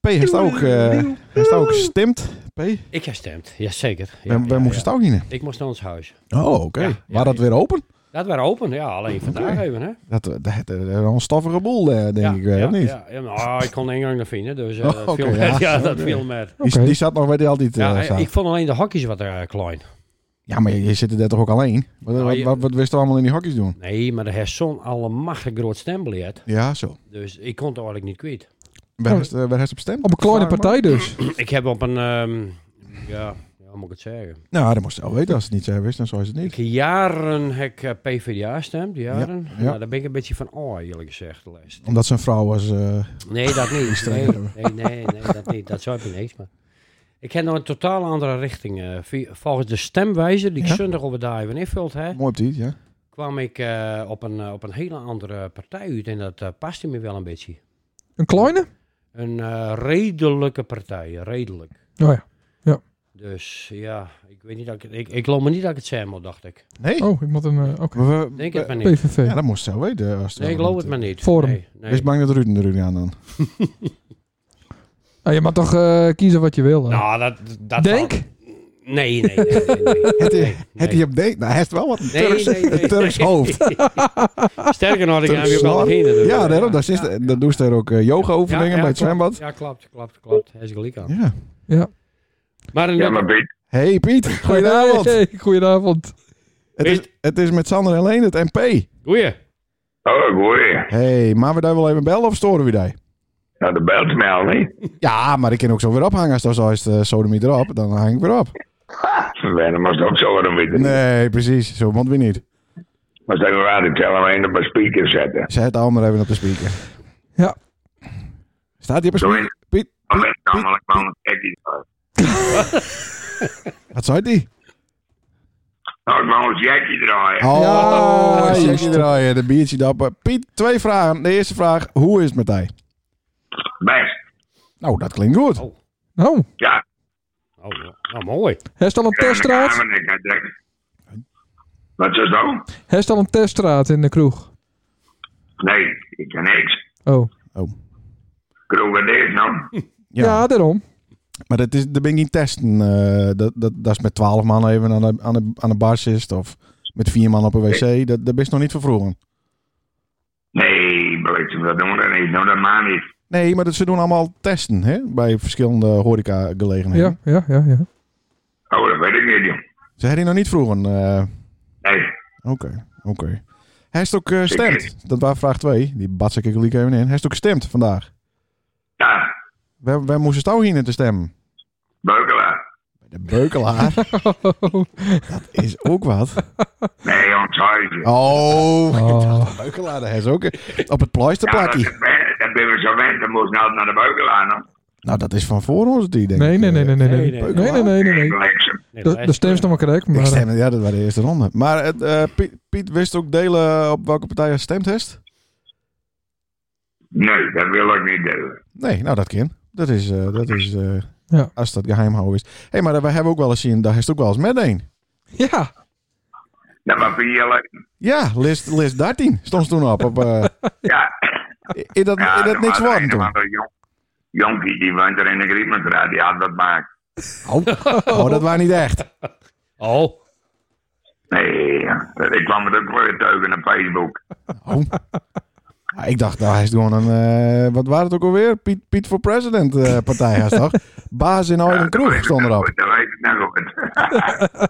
Speaker 3: P heeft ook, eh heeft ook gestemd. P, wij,
Speaker 5: Ik heb stemd, jazeker. Ja,
Speaker 3: wij
Speaker 5: ja,
Speaker 3: moesten het ook niet in.
Speaker 5: Ik moest naar ons huis.
Speaker 3: Oh, oké.
Speaker 5: Ja,
Speaker 3: Waar
Speaker 5: ja,
Speaker 3: dat
Speaker 5: ja.
Speaker 3: weer open?
Speaker 5: Dat waren open, ja, alleen vandaag
Speaker 3: Oké.
Speaker 5: even, hè.
Speaker 3: Dat, eh, dat, dat, dat is wel een stoffige boel, eh, denk
Speaker 5: ja,
Speaker 3: ik, eh,
Speaker 5: ja,
Speaker 3: of niet?
Speaker 5: Ja, ja, nou, ik kon de ingang naar vinden, dus eh,
Speaker 3: Oh,
Speaker 5: dat
Speaker 3: oké,
Speaker 5: viel met.
Speaker 3: ja.
Speaker 5: Ja, dat viel met.
Speaker 3: Die,
Speaker 1: Oké.
Speaker 3: die zat nog bij die altijd. eh,
Speaker 5: Ja,
Speaker 3: zaten.
Speaker 5: ik vond alleen de hokjes wat eh, klein.
Speaker 3: Ja, maar je, je zit er daar toch ook alleen? Wat,
Speaker 5: Nou,
Speaker 3: wat,
Speaker 5: je-
Speaker 3: wat, wat wist je allemaal in die hokjes doen?
Speaker 5: Nee, maar de heeft zo'n allemachtig groot stembiljet.
Speaker 3: Ja, zo.
Speaker 5: Dus ik kon het eigenlijk niet kwijt.
Speaker 3: Waar is het- waar is het Oh. op stem?
Speaker 1: Op een kleine
Speaker 3: Vraag maar.
Speaker 1: partij dus.
Speaker 5: Ik heb op een... ehm, ja, ja, hoe moet ik het zeggen?
Speaker 3: Nou, dat moest je wel weten. Als het niet zo wist, dan zou je het
Speaker 5: Ik
Speaker 3: niet.
Speaker 5: heb jaren heb ik eh, PvdA gestemd, jaren.
Speaker 3: ja.
Speaker 5: Nou, daar ben ik een beetje van oh, eerlijk gezegd. de laatste.
Speaker 3: Omdat zijn vrouw was... eh,
Speaker 5: Nee, dat niet. Nee,
Speaker 3: Streng.
Speaker 5: nee, nee, nee, dat niet. Dat zou ik niet eens. Maar ik heb nog een totaal andere richting. eh. Vi- volgens de stemwijzer die ik
Speaker 3: Ja?
Speaker 5: zondag over daar even invult, hè,
Speaker 3: mooi op die, ja.
Speaker 5: kwam ik eh, op, een, eh, op een hele andere partij uit. En dat eh, paste me wel een beetje.
Speaker 1: Een kleine?
Speaker 5: Een eh, redelijke partij, redelijk.
Speaker 1: Oh ja.
Speaker 5: Dus ja, ik weet niet dat ik het- Ik, ik geloof me niet dat ik het zei, maar dacht ik.
Speaker 3: Nee?
Speaker 1: Oh, ik moet een... eh, Oké.
Speaker 3: We- we-
Speaker 5: Denk het maar niet.
Speaker 1: PVV.
Speaker 3: Ja, dat moest je wel weten. eh, Als
Speaker 5: Nee, ik geloof het maar niet.
Speaker 1: Forum.
Speaker 5: Nee, nee.
Speaker 3: Wees bang dat Ruud er nu aan dan.
Speaker 1: Nou, je mag toch eh, kiezen wat je wil. hè?
Speaker 5: Nou, dat... dat
Speaker 1: Denk.
Speaker 5: valt- Nee, nee, nee. nee, nee,
Speaker 3: Het
Speaker 5: nee,
Speaker 3: is- Het
Speaker 5: nee.
Speaker 3: je op date? Nou, hij heeft wel wat een
Speaker 5: Nee,
Speaker 3: Turks,
Speaker 5: nee, nee.
Speaker 3: een Turks hoofd.
Speaker 5: Sterker nog, ik heb
Speaker 3: Turks
Speaker 5: je wel
Speaker 3: hoofd.
Speaker 5: geen. dus,
Speaker 3: Ja,
Speaker 5: eh,
Speaker 3: daarom. Daar, zit- daar doen ze daar ook eh, yoga-oefeningen
Speaker 5: Ja, ja,
Speaker 3: bij het
Speaker 5: klopt.
Speaker 3: zwembad.
Speaker 5: Ja, klopt, klopt, klopt. Hij is gelijk aan.
Speaker 3: Ja.
Speaker 5: Maar een,
Speaker 8: Ja, maar Piet,
Speaker 3: Hey Piet, goedenavond.
Speaker 1: Hey, hey, goedenavond.
Speaker 3: Het, is, het is met Sander en Leen, het MP.
Speaker 5: goeie.
Speaker 8: oh, ik hoor je.
Speaker 3: Hey, maar we daar wel even bellen of storen we die?
Speaker 8: Nou, de belt mij al niet.
Speaker 3: Ja, maar ik kan ook zo weer ophangen. Als dat zo is, uh, sodemie erop, dan hang ik weer op.
Speaker 8: Verwennen, maar dat ook zo een beetje.
Speaker 3: Nee, precies. Zo moet we niet.
Speaker 8: Maar dat we aan die teller maar in op mijn speaker zetten.
Speaker 3: Zet het allemaal even op de speaker.
Speaker 1: Ja.
Speaker 3: Staat die op de
Speaker 8: Doe
Speaker 3: speaker? Piet,
Speaker 8: Alleen
Speaker 3: nou,
Speaker 8: namelijk van het ekkie.
Speaker 3: wat zei die?
Speaker 8: Nou, ik wou ons jackie draaien.
Speaker 3: Oh,
Speaker 1: Ja,
Speaker 3: ja,
Speaker 1: juist.
Speaker 3: draaien, de biertje dappen. Piet, twee vragen. De eerste vraag, hoe is het met hij?
Speaker 8: Best.
Speaker 3: Nou, dat klinkt goed.
Speaker 5: Oh.
Speaker 1: Nou,
Speaker 8: Ja.
Speaker 5: Oh, ja. nou, mooi.
Speaker 1: heeft al een teststraat?
Speaker 8: En ik ga direct- Wat is dat? nou?
Speaker 1: Heeft al een teststraat in de kroeg?
Speaker 8: Nee, ik kan niks.
Speaker 1: Oh.
Speaker 3: Oh.
Speaker 8: Kroeg wat is nou?
Speaker 1: Ja, daarom.
Speaker 3: Maar dat is, dat ben ik niet testen. eh, dat, dat, dat is met twaalf man even aan de, aan de, aan de bar zit of met vier man op een wc. Dat, dat is nog niet vervroegen.
Speaker 8: Nee, weet je, dat doen we niet. Nou, dat maakt niet.
Speaker 3: Nee, maar dat, ze doen allemaal testen hè? bij verschillende horecagelegenheden.
Speaker 1: Ja, ja, ja. ja.
Speaker 8: Oh, dat weet ik niet, joh.
Speaker 3: Ze hebben nog niet vroegen. eh,
Speaker 8: Nee.
Speaker 3: Oké, oké. Hij is ook eh stemt. Dat was vraag 2. Die bats ik er gelijk even in. Hij is ook stemt vandaag.
Speaker 8: Ja,
Speaker 3: Wij, wij moesten staan hier in te stemmen.
Speaker 8: Beukelaar.
Speaker 3: De beukelaar. dat is ook wat.
Speaker 8: Nee, ons huisje.
Speaker 3: Oh,
Speaker 1: Oh.
Speaker 3: beukelaar. Hij is ook eh, op het
Speaker 8: Ja, dat,
Speaker 3: pleisterplakje.
Speaker 8: is- eh, dat ben we zo wend. Dan moest nou naar de Beukelaar, nog.
Speaker 3: Nou, dat is van voor ons die, denk
Speaker 1: Nee,
Speaker 3: ik. eh,
Speaker 1: nee, nee, nee, nee, nee.
Speaker 5: Nee,
Speaker 1: Nee,
Speaker 5: nee,
Speaker 1: nee, nee, nee. nee.
Speaker 8: Bliksem.
Speaker 5: Nee,
Speaker 1: De,
Speaker 5: lijst-
Speaker 1: de stem is nog maar correct,
Speaker 3: Ik
Speaker 1: maar... eh,
Speaker 3: stem, ja, dat was de eerste ronde. Maar het, eh, Piet, Piet wist ook delen op welke partij hij stemt heeft?
Speaker 8: Nee, dat wil ik niet delen.
Speaker 3: Nee, nou dat kan. Dat is, eh, dat is eh,
Speaker 1: Ja.
Speaker 3: als dat geheim houden is. Hé, hey, maar eh, we hebben ook wel eens zien, daar is het ook wel eens met een.
Speaker 1: eh, Ja,
Speaker 8: Dat was van jullie.
Speaker 3: Ja, list, list 13 stond ze toen op. op eh,
Speaker 8: Ja.
Speaker 3: is dat,
Speaker 8: ja,
Speaker 3: is dat niks
Speaker 8: was
Speaker 3: worden
Speaker 8: een of
Speaker 3: toen?
Speaker 8: andere jong- Jonkie, die woont er in de Grietmansraad, die had dat maakt.
Speaker 3: Oh, oh, dat was niet echt.
Speaker 5: Oh,
Speaker 8: Nee, ja. ik kwam het ook weer teugen op Facebook.
Speaker 3: Oh. Ja, ik dacht, nou, hij is gewoon een... eh, wat waren het ook alweer? Piet, Piet voor President eh, partij, hij is toch? Baas in Ooit en Kroeg stond erop.
Speaker 8: Dat weet ik nog goed.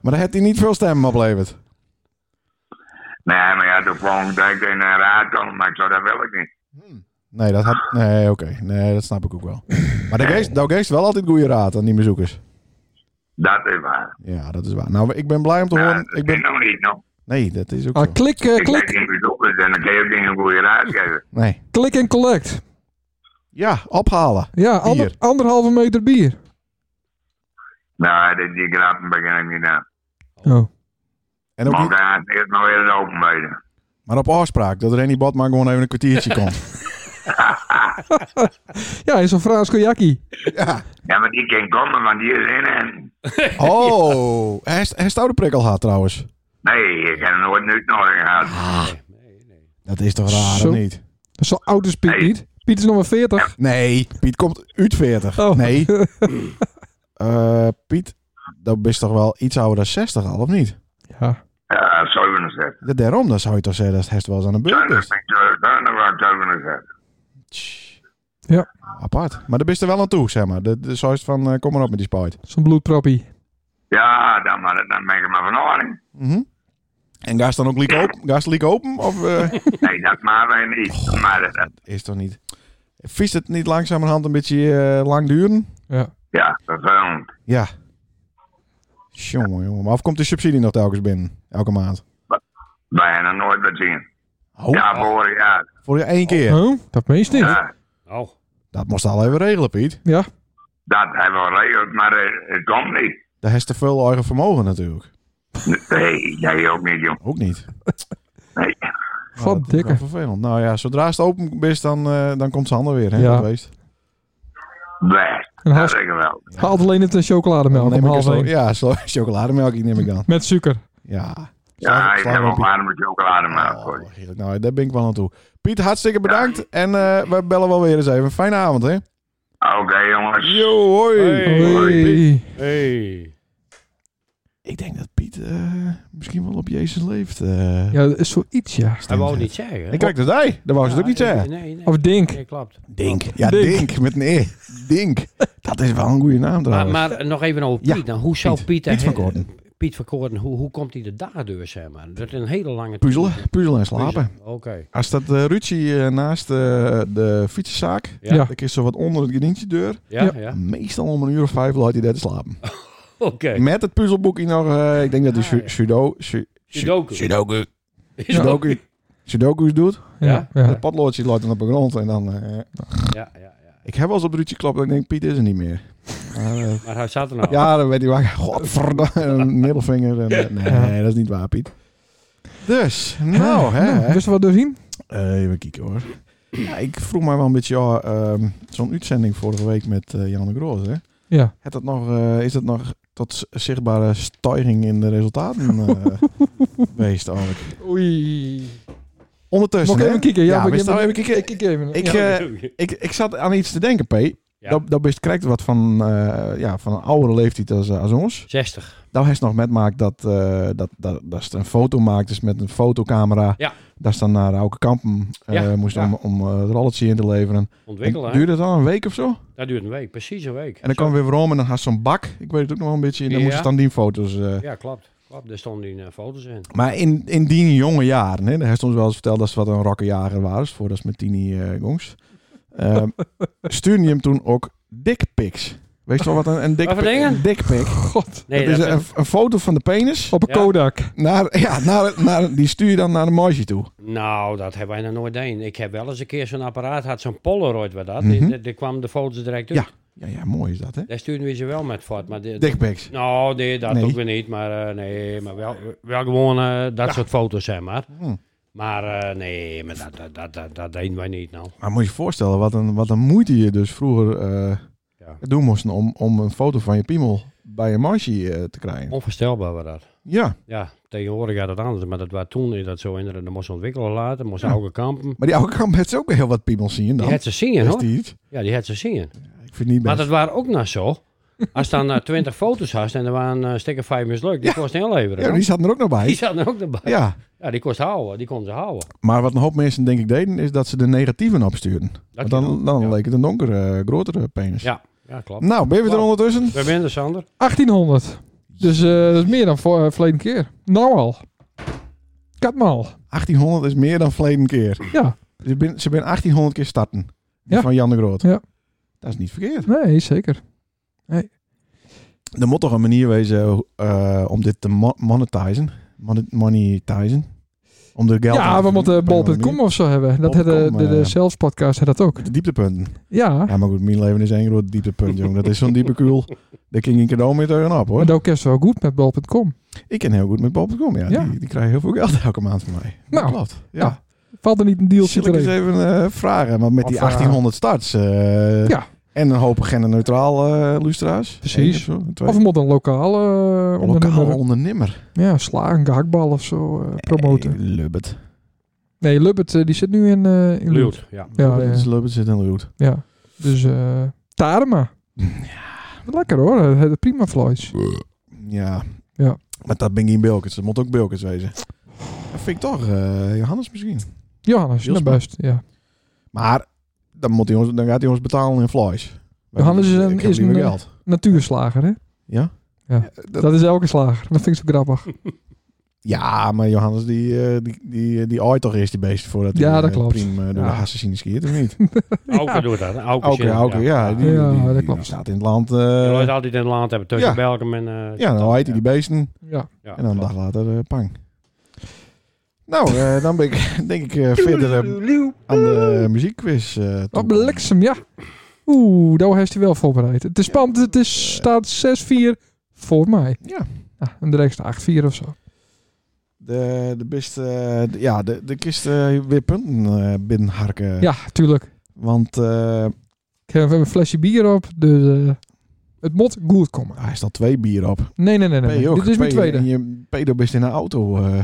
Speaker 3: Maar daar had hij niet veel stemmen opleverd.
Speaker 8: nee, maar ja, toen kwam ik denk ik in een raad komen, maar ik zou dat wil ik niet.
Speaker 3: Nee, dat had, nee, oké. Nee, dat snap ik ook wel. Maar daar geeft- daar geeft wel altijd goede raad aan die bezoekers.
Speaker 8: Dat is waar.
Speaker 3: Ja, dat is waar. Nou, ik ben blij om te
Speaker 8: Ja,
Speaker 3: horen.
Speaker 8: dat
Speaker 3: Ik
Speaker 8: ben
Speaker 3: ben,
Speaker 8: nog niet, nog.
Speaker 3: nee, dat is ook
Speaker 1: ah,
Speaker 3: zo.
Speaker 1: klik, eh,
Speaker 8: Ik ben
Speaker 1: klik,
Speaker 8: geen bezoekers en dan kan je ook geen goede raad geven.
Speaker 3: Nee.
Speaker 1: klik en collect.
Speaker 3: Ja, ophalen.
Speaker 1: Ja, ander-
Speaker 3: Bier.
Speaker 1: anderhalve meter bier.
Speaker 8: Nou, die, die grappen begin ik niet aan.
Speaker 1: Oh.
Speaker 3: En ook
Speaker 8: Want
Speaker 3: niet,
Speaker 8: hij had eerst nog weer een open weten.
Speaker 3: maar op afspraak, dat Rennie Botman gewoon even een kwartiertje komt.
Speaker 1: Ja, is een Frans jakkie.
Speaker 9: Ja, maar die kan komen, want die is in en...
Speaker 3: Oh, hij is- hij stout de prikkel had trouwens.
Speaker 9: Nee, ik heb nooit een uitnodiging gehad.
Speaker 3: Dat is toch raar,
Speaker 1: Zo.
Speaker 3: of niet?
Speaker 1: Dat is zo oud is Piet
Speaker 9: Nee.
Speaker 1: niet. Piet is nog maar 40.
Speaker 3: Nee, Piet komt uit 40.
Speaker 1: Oh.
Speaker 3: Nee. Eh, Piet, dat is toch wel iets ouder dan 60 al, of niet?
Speaker 1: Ja.
Speaker 9: Ja, 67.
Speaker 3: Ja, daarom, dan zou je toch zeggen dat het wel eens aan de beurt
Speaker 9: Tuiners,
Speaker 3: is.
Speaker 9: ik
Speaker 8: eh,
Speaker 9: zou- tuiners waren 67.
Speaker 3: Tss.
Speaker 1: Ja.
Speaker 3: Apart. Maar daar ben je er wel aan toe, zeg maar. De, de, zo is het van, eh, kom maar op met die spuit.
Speaker 1: Zo'n bloedproppie.
Speaker 9: Ja, dan, maar, dan ben ik er maar van horen.
Speaker 3: Mhm. En ga je dan ook liek open? Ga je ze liek open? Of eh,
Speaker 9: Nee, dat maar wij
Speaker 3: Oh.
Speaker 9: niet. Maar eh, dat- dat,
Speaker 3: is toch niet... Vies het niet langzamerhand een beetje eh, lang duren?
Speaker 1: Ja.
Speaker 9: ja, vervelend.
Speaker 3: Ja. Jongen, jongen. Maar of komt de subsidie nog telkens binnen? Elke maand?
Speaker 9: Bijna nooit wat zien.
Speaker 3: Oh,
Speaker 9: Ja, vorig jaar.
Speaker 3: voor je één keer.
Speaker 1: Oh, dat meest niet.
Speaker 9: Ja,
Speaker 5: Oh,
Speaker 3: Dat moest al even regelen, Piet.
Speaker 1: Ja.
Speaker 9: dat hebben we geregeld, maar eh, het komt niet.
Speaker 3: Daar heeft te veel eigen vermogen natuurlijk.
Speaker 9: Nee, jij ook niet, jong.
Speaker 3: Ook niet.
Speaker 9: Nee.
Speaker 3: Nou, dat is wel
Speaker 1: dikke.
Speaker 3: vervelend. Nou ja, zodra het open is, dan, eh, dan komt ze handen weer. Hè,
Speaker 1: Ja. Nou,
Speaker 3: dat weest.
Speaker 9: Best.
Speaker 1: En
Speaker 9: Dat
Speaker 1: haalt,
Speaker 9: zeg ik wel.
Speaker 1: haalt alleen het een chocolademelk
Speaker 3: Dan
Speaker 1: om
Speaker 3: neem ik een
Speaker 1: half
Speaker 3: slo-
Speaker 1: één.
Speaker 3: ja, slo- chocolademelk neem ik dan.
Speaker 1: Met suiker.
Speaker 3: Ja.
Speaker 9: Ja, ik heb
Speaker 3: op
Speaker 9: ook warme chocolade maar voor je.
Speaker 3: Oh, heerlijk. nou, daar ben ik wel aan toe. Piet, hartstikke bedankt. En eh, we bellen wel weer eens even. Fijne avond, hè?
Speaker 9: Oké, jongens.
Speaker 3: Yo, hoi.
Speaker 5: Hey.
Speaker 1: Hoi.
Speaker 5: hey.
Speaker 3: Ik denk dat Piet eh, misschien wel op Jezus leeft. eh.
Speaker 1: Ja, dat is zoiets, ja.
Speaker 5: Hij wou het niet zeggen.
Speaker 3: Ik kijk dat hij. Dat wou ze het ook niet zeggen.
Speaker 5: Nee, nee, nee.
Speaker 1: Of Dink.
Speaker 5: Nee, klopt.
Speaker 3: Dink. Ja,
Speaker 1: Dink.
Speaker 3: Dink. Met een E. Dink. Dat is wel een goede naam
Speaker 5: Maar,
Speaker 3: trouwens.
Speaker 5: maar nog even over
Speaker 3: Ja,
Speaker 5: Piet. dan. Hoe zou
Speaker 3: Piet.
Speaker 5: Piet...
Speaker 3: Piet van
Speaker 5: eh,
Speaker 3: Koorden.
Speaker 5: Piet van Koorden, hoe, hoe komt hij de daardeur, zeg maar? Dat is een hele lange...
Speaker 3: Puzzelen. Puzzelen en slapen.
Speaker 5: Oké.
Speaker 3: Als dat eh Ruudje, eh, naast eh, de fietsenzaak.
Speaker 5: Ja.
Speaker 1: Ja.
Speaker 3: Dan is zo wat onder het gedientje deur.
Speaker 5: Ja, ja.
Speaker 3: Meestal om een uur of vijf laat hij daar te slapen.
Speaker 5: Oké.
Speaker 3: Met het puzzelboekje nog. eh, ik denk dat hij
Speaker 5: Ah,
Speaker 3: su-
Speaker 5: ja.
Speaker 3: sudo... su-
Speaker 5: Sudoku.
Speaker 3: Sudoku.
Speaker 5: Is dat-
Speaker 3: Sudoku. Sudoku's doet.
Speaker 1: Ja. ja.
Speaker 3: Het potloodje loopt dan op de grond. En dan... eh,
Speaker 5: Ja, ja, ja.
Speaker 3: ik heb wel eens op Ruudje klopt dat ik denk, Piet is er niet meer. Maar, eh,
Speaker 5: Maar hij zat er nou.
Speaker 3: Ja, dan werd hij wakker. Godverdomme, een middelvinger. En, eh, nee, dat is niet waar, Piet. Dus, nou, hè.
Speaker 1: Nou, Wist je wat doorzien?
Speaker 3: Eh, even kijken hoor. Ja, ik vroeg mij wel een beetje, ja, ehm, zo'n uitzending vorige week met eh, Jan de Groot, hè.
Speaker 1: Ja.
Speaker 3: Het dat nog, eh, is dat nog tot z- zichtbare stijging in de resultaten eh, geweest eigenlijk?
Speaker 1: Oei.
Speaker 3: Ondertussen,
Speaker 1: Mag ik even
Speaker 3: hè?
Speaker 1: kijken? Ja,
Speaker 3: Ja,
Speaker 1: maar
Speaker 3: we
Speaker 1: ik
Speaker 3: staan even
Speaker 1: ik
Speaker 3: kijken.
Speaker 1: kijk even.
Speaker 3: Ik,
Speaker 1: Ja.
Speaker 3: eh, ik, ik zat aan iets te denken, P.
Speaker 5: Ja.
Speaker 3: Dat, dat is correct wat van, eh, ja, van een oudere leeftijd als, eh, als ons.
Speaker 5: 60.
Speaker 3: Nou, hij is nog met maakt dat, eh, dat, dat, dat ze een foto maakt, dus met een fotocamera.
Speaker 5: Ja.
Speaker 3: Dat ze dan naar Auke Kampen eh,
Speaker 5: Ja,
Speaker 3: moest
Speaker 5: ja.
Speaker 3: om, om eh, het rolletje in te leveren.
Speaker 5: Ontwikkelen, hè?
Speaker 3: duurde het dan een week of zo? En
Speaker 5: Dat duurt een week. Precies een week.
Speaker 3: dan kwam weer Rome en dan had ze zo'n bak. Ik weet het ook nog wel een beetje. En dan
Speaker 5: Ja.
Speaker 3: moesten dan die foto's. eh.
Speaker 5: Ja, klopt. klopt. Daar stonden die eh, foto's in.
Speaker 3: Maar in, in die jonge jaren, hè, daar heeft ze ons wel eens verteld dat ze wat een rokkenjager waren, voordat ze met Tini eh jongens. Ehm stuurde je hem toen ook dickpics. Weet je wel wat een, een dick
Speaker 5: Wat voor dingen?
Speaker 3: een dickpic?
Speaker 1: God.
Speaker 5: Nee,
Speaker 3: dat is
Speaker 5: dat-
Speaker 3: een, een foto van de penis.
Speaker 1: Op een
Speaker 5: Ja.
Speaker 1: Kodak.
Speaker 3: Naar, ja, naar, naar, die stuur je dan naar de meisje toe.
Speaker 5: Nou, dat hebben wij nog nooit gedaan. Ik heb wel eens een keer zo'n apparaat, had zo'n Polaroid, wat dat.
Speaker 3: Mhm.
Speaker 5: Daar- Daar kwamen de foto's direct uit.
Speaker 3: Ja. Ja, ja, mooi is dat, hè?
Speaker 5: Daar stuurden we ze wel met voort. Maar de,
Speaker 3: Dickpics.
Speaker 5: nou, nee, dat
Speaker 3: Nee.
Speaker 5: ook weer niet. Maar eh, nee, maar wel, wel gewoon eh, dat soort foto's, zeg maar.
Speaker 3: Hm.
Speaker 5: Maar eh, nee, maar dat, dat, dat, dat, dat deden wij niet, nou.
Speaker 3: Maar moet je je voorstellen, wat een, wat een moeite je dus vroeger eh,
Speaker 5: Ja.
Speaker 3: doen moest om, om een foto van je piemel bij een meisje eh, te krijgen.
Speaker 5: Onvoorstelbaar was dat.
Speaker 3: Ja,
Speaker 5: Ja, tegenwoordig gaat het anders. Maar dat was toen is dat zo inderdaad. Dan moest ze ontwikkelen laten, moest ze oude kampen.
Speaker 3: maar die oude kamp heeft ook weer heel wat piemels zien
Speaker 5: Die
Speaker 3: dan.
Speaker 5: had ze zien,
Speaker 3: Is
Speaker 5: hoor.
Speaker 3: die iets?
Speaker 5: Ja, die had ze zien.
Speaker 3: Ik vind het niet
Speaker 5: Maar
Speaker 3: best.
Speaker 5: dat waren ook nog zo. Als dan eh, 20 foto's had en er waren eh stikken vijf mislukt, die
Speaker 3: Ja.
Speaker 5: kost heel leveren.
Speaker 3: ja,
Speaker 5: hoor.
Speaker 3: die zat er ook nog bij.
Speaker 5: Die zat er ook erbij. Ja,
Speaker 3: Ja,
Speaker 5: die kost houden. Die kon ze houden.
Speaker 3: maar wat een hoop mensen denk ik deden, is dat ze de negatieven opstuurden. Want dan,
Speaker 5: kan.
Speaker 3: dan
Speaker 5: ja.
Speaker 3: leek het een donkere, grotere penis.
Speaker 5: Ja, ja, klopt.
Speaker 3: Nou, ben je er
Speaker 5: Wow.
Speaker 3: ondertussen?
Speaker 5: We winnen, Sander.
Speaker 1: 1800. Dus eh, dat is meer dan voor, eh, verleden keer. Nou al. Katmaal.
Speaker 3: 1800 is meer dan verleden keer.
Speaker 1: Ja.
Speaker 3: Ze ben, ze ben 1800 keer starten. Die
Speaker 1: Ja.
Speaker 3: Van Jan de Groot.
Speaker 1: Ja.
Speaker 3: Dat is niet verkeerd.
Speaker 1: Nee, zeker.
Speaker 3: Er moet toch een manier wezen eh, om dit te mo- monetizen. Monet- Monetizen. Om er geld aan
Speaker 1: Ja,
Speaker 3: te
Speaker 1: we moeten
Speaker 3: verdienen. Op een
Speaker 1: bol.com
Speaker 3: manier.
Speaker 1: of zo hebben. Dat
Speaker 3: Bol.com,
Speaker 1: hadden de, de
Speaker 3: eh.
Speaker 1: zelfs podcast had dat ook.
Speaker 3: De dieptepunten.
Speaker 1: Ja,
Speaker 3: Ja, maar goed, mijn leven is één groot dieptepunt, jongen. Dat is zo'n diepe kuul. Daar ging ik cadeau mee tegenop, hoor.
Speaker 1: maar dat kerst wel goed met bol.com.
Speaker 3: Ik ken heel goed met bol.com. Ja,
Speaker 1: Ja.
Speaker 3: Die, die krijgen heel veel geld elke maand van mij. Dat
Speaker 1: Nou,
Speaker 3: klopt. Ja.
Speaker 1: ja. Valt er niet een dealtje
Speaker 3: Zal
Speaker 1: te
Speaker 3: ik eens
Speaker 1: regelen?
Speaker 3: even eh, vragen? Want met die
Speaker 1: Of, eh,
Speaker 3: 1800 starts eh,
Speaker 1: Ja.
Speaker 3: en een hoop genderneutraal eh lustra's.
Speaker 1: Precies.
Speaker 3: Eén of zo, twee.
Speaker 1: Of moet een lokale eh
Speaker 3: Lokaal
Speaker 1: ondernemer-
Speaker 3: ondernemer.
Speaker 1: Ja, slagen, gehaktbal of zo eh, promoten.
Speaker 3: Hey, Lubbert.
Speaker 1: Nee, Lubbert eh, die zit nu in, eh in Lourdes.
Speaker 5: Leeuwt, ja.
Speaker 1: Ja,
Speaker 3: Lubbert
Speaker 1: ja.
Speaker 3: is- Lubbert zit in Luwt.
Speaker 1: ja. Dus eh Tarma. Lekker hoor, het- het prima vlees.
Speaker 3: Ja.
Speaker 1: Ja.
Speaker 3: Maar dat ben geen Bilkens. Dat moet ook Bilkens wezen. Dat vind ik toch. eh, Johannes misschien.
Speaker 1: Johannes,
Speaker 3: Wilsma.
Speaker 1: nou best. Ja.
Speaker 3: Maar dan, moet hij ons, dan gaat hij ons betalen in flies.
Speaker 1: Johannes is een-
Speaker 3: Ik heb
Speaker 1: is
Speaker 3: liever
Speaker 1: een- eh,
Speaker 3: geld.
Speaker 1: Natuurslager, hè?
Speaker 3: Ja? Eh,
Speaker 1: Ja.
Speaker 3: Dat-
Speaker 1: Dat is elke slager. Dat vind ik zo grappig.
Speaker 3: Ja, maar Johannes die, eh die, die, die ooit toch eerst die beest voordat
Speaker 1: Ja,
Speaker 3: hij
Speaker 1: dat
Speaker 3: eh,
Speaker 1: klopt.
Speaker 3: priem eh, door
Speaker 1: Ja.
Speaker 3: de assassinen skiert, of niet?
Speaker 5: Auken doet dat. hè? Auken,
Speaker 3: Oké,
Speaker 5: zit-
Speaker 3: oké, ja. Die,
Speaker 1: Ja,
Speaker 3: die-
Speaker 1: dat
Speaker 3: die
Speaker 1: klopt.
Speaker 3: staat in het land. eh,
Speaker 5: Je loopt altijd in het land hebben tussen
Speaker 3: Ja.
Speaker 5: Belgium en... eh,
Speaker 3: ja, dan heet hij die beesten.
Speaker 1: Ja.
Speaker 5: ja,
Speaker 3: En dan een
Speaker 5: klopt.
Speaker 3: dag later, eh, pang. Nou, eh, dan ben ik denk ik eh, verder eh, aan
Speaker 2: uh,
Speaker 3: de muziekquiz. eh,
Speaker 1: Oh,
Speaker 3: toekomen.
Speaker 1: bliksem, ja. Oeh, daar heeft hij wel voorbereid. Het is spannend. Het is, staat 6-4 voor mij.
Speaker 3: Ja.
Speaker 1: Ah, en de rest 8-4 of zo.
Speaker 3: De, de beste, eh, de- ja, de, de kist eh, weer punten eh, binnenharken.
Speaker 1: Ja, tuurlijk.
Speaker 3: Want eh,
Speaker 1: Ik heb even een flesje bier op. Dus eh, het moet goed komen.
Speaker 3: hij staat twee bier op.
Speaker 1: Nee, nee, nee. nee.
Speaker 3: P
Speaker 1: nee.
Speaker 3: ook.
Speaker 1: Dit is mijn
Speaker 3: P-
Speaker 1: tweede.
Speaker 3: en Je pedo best in een auto. eh,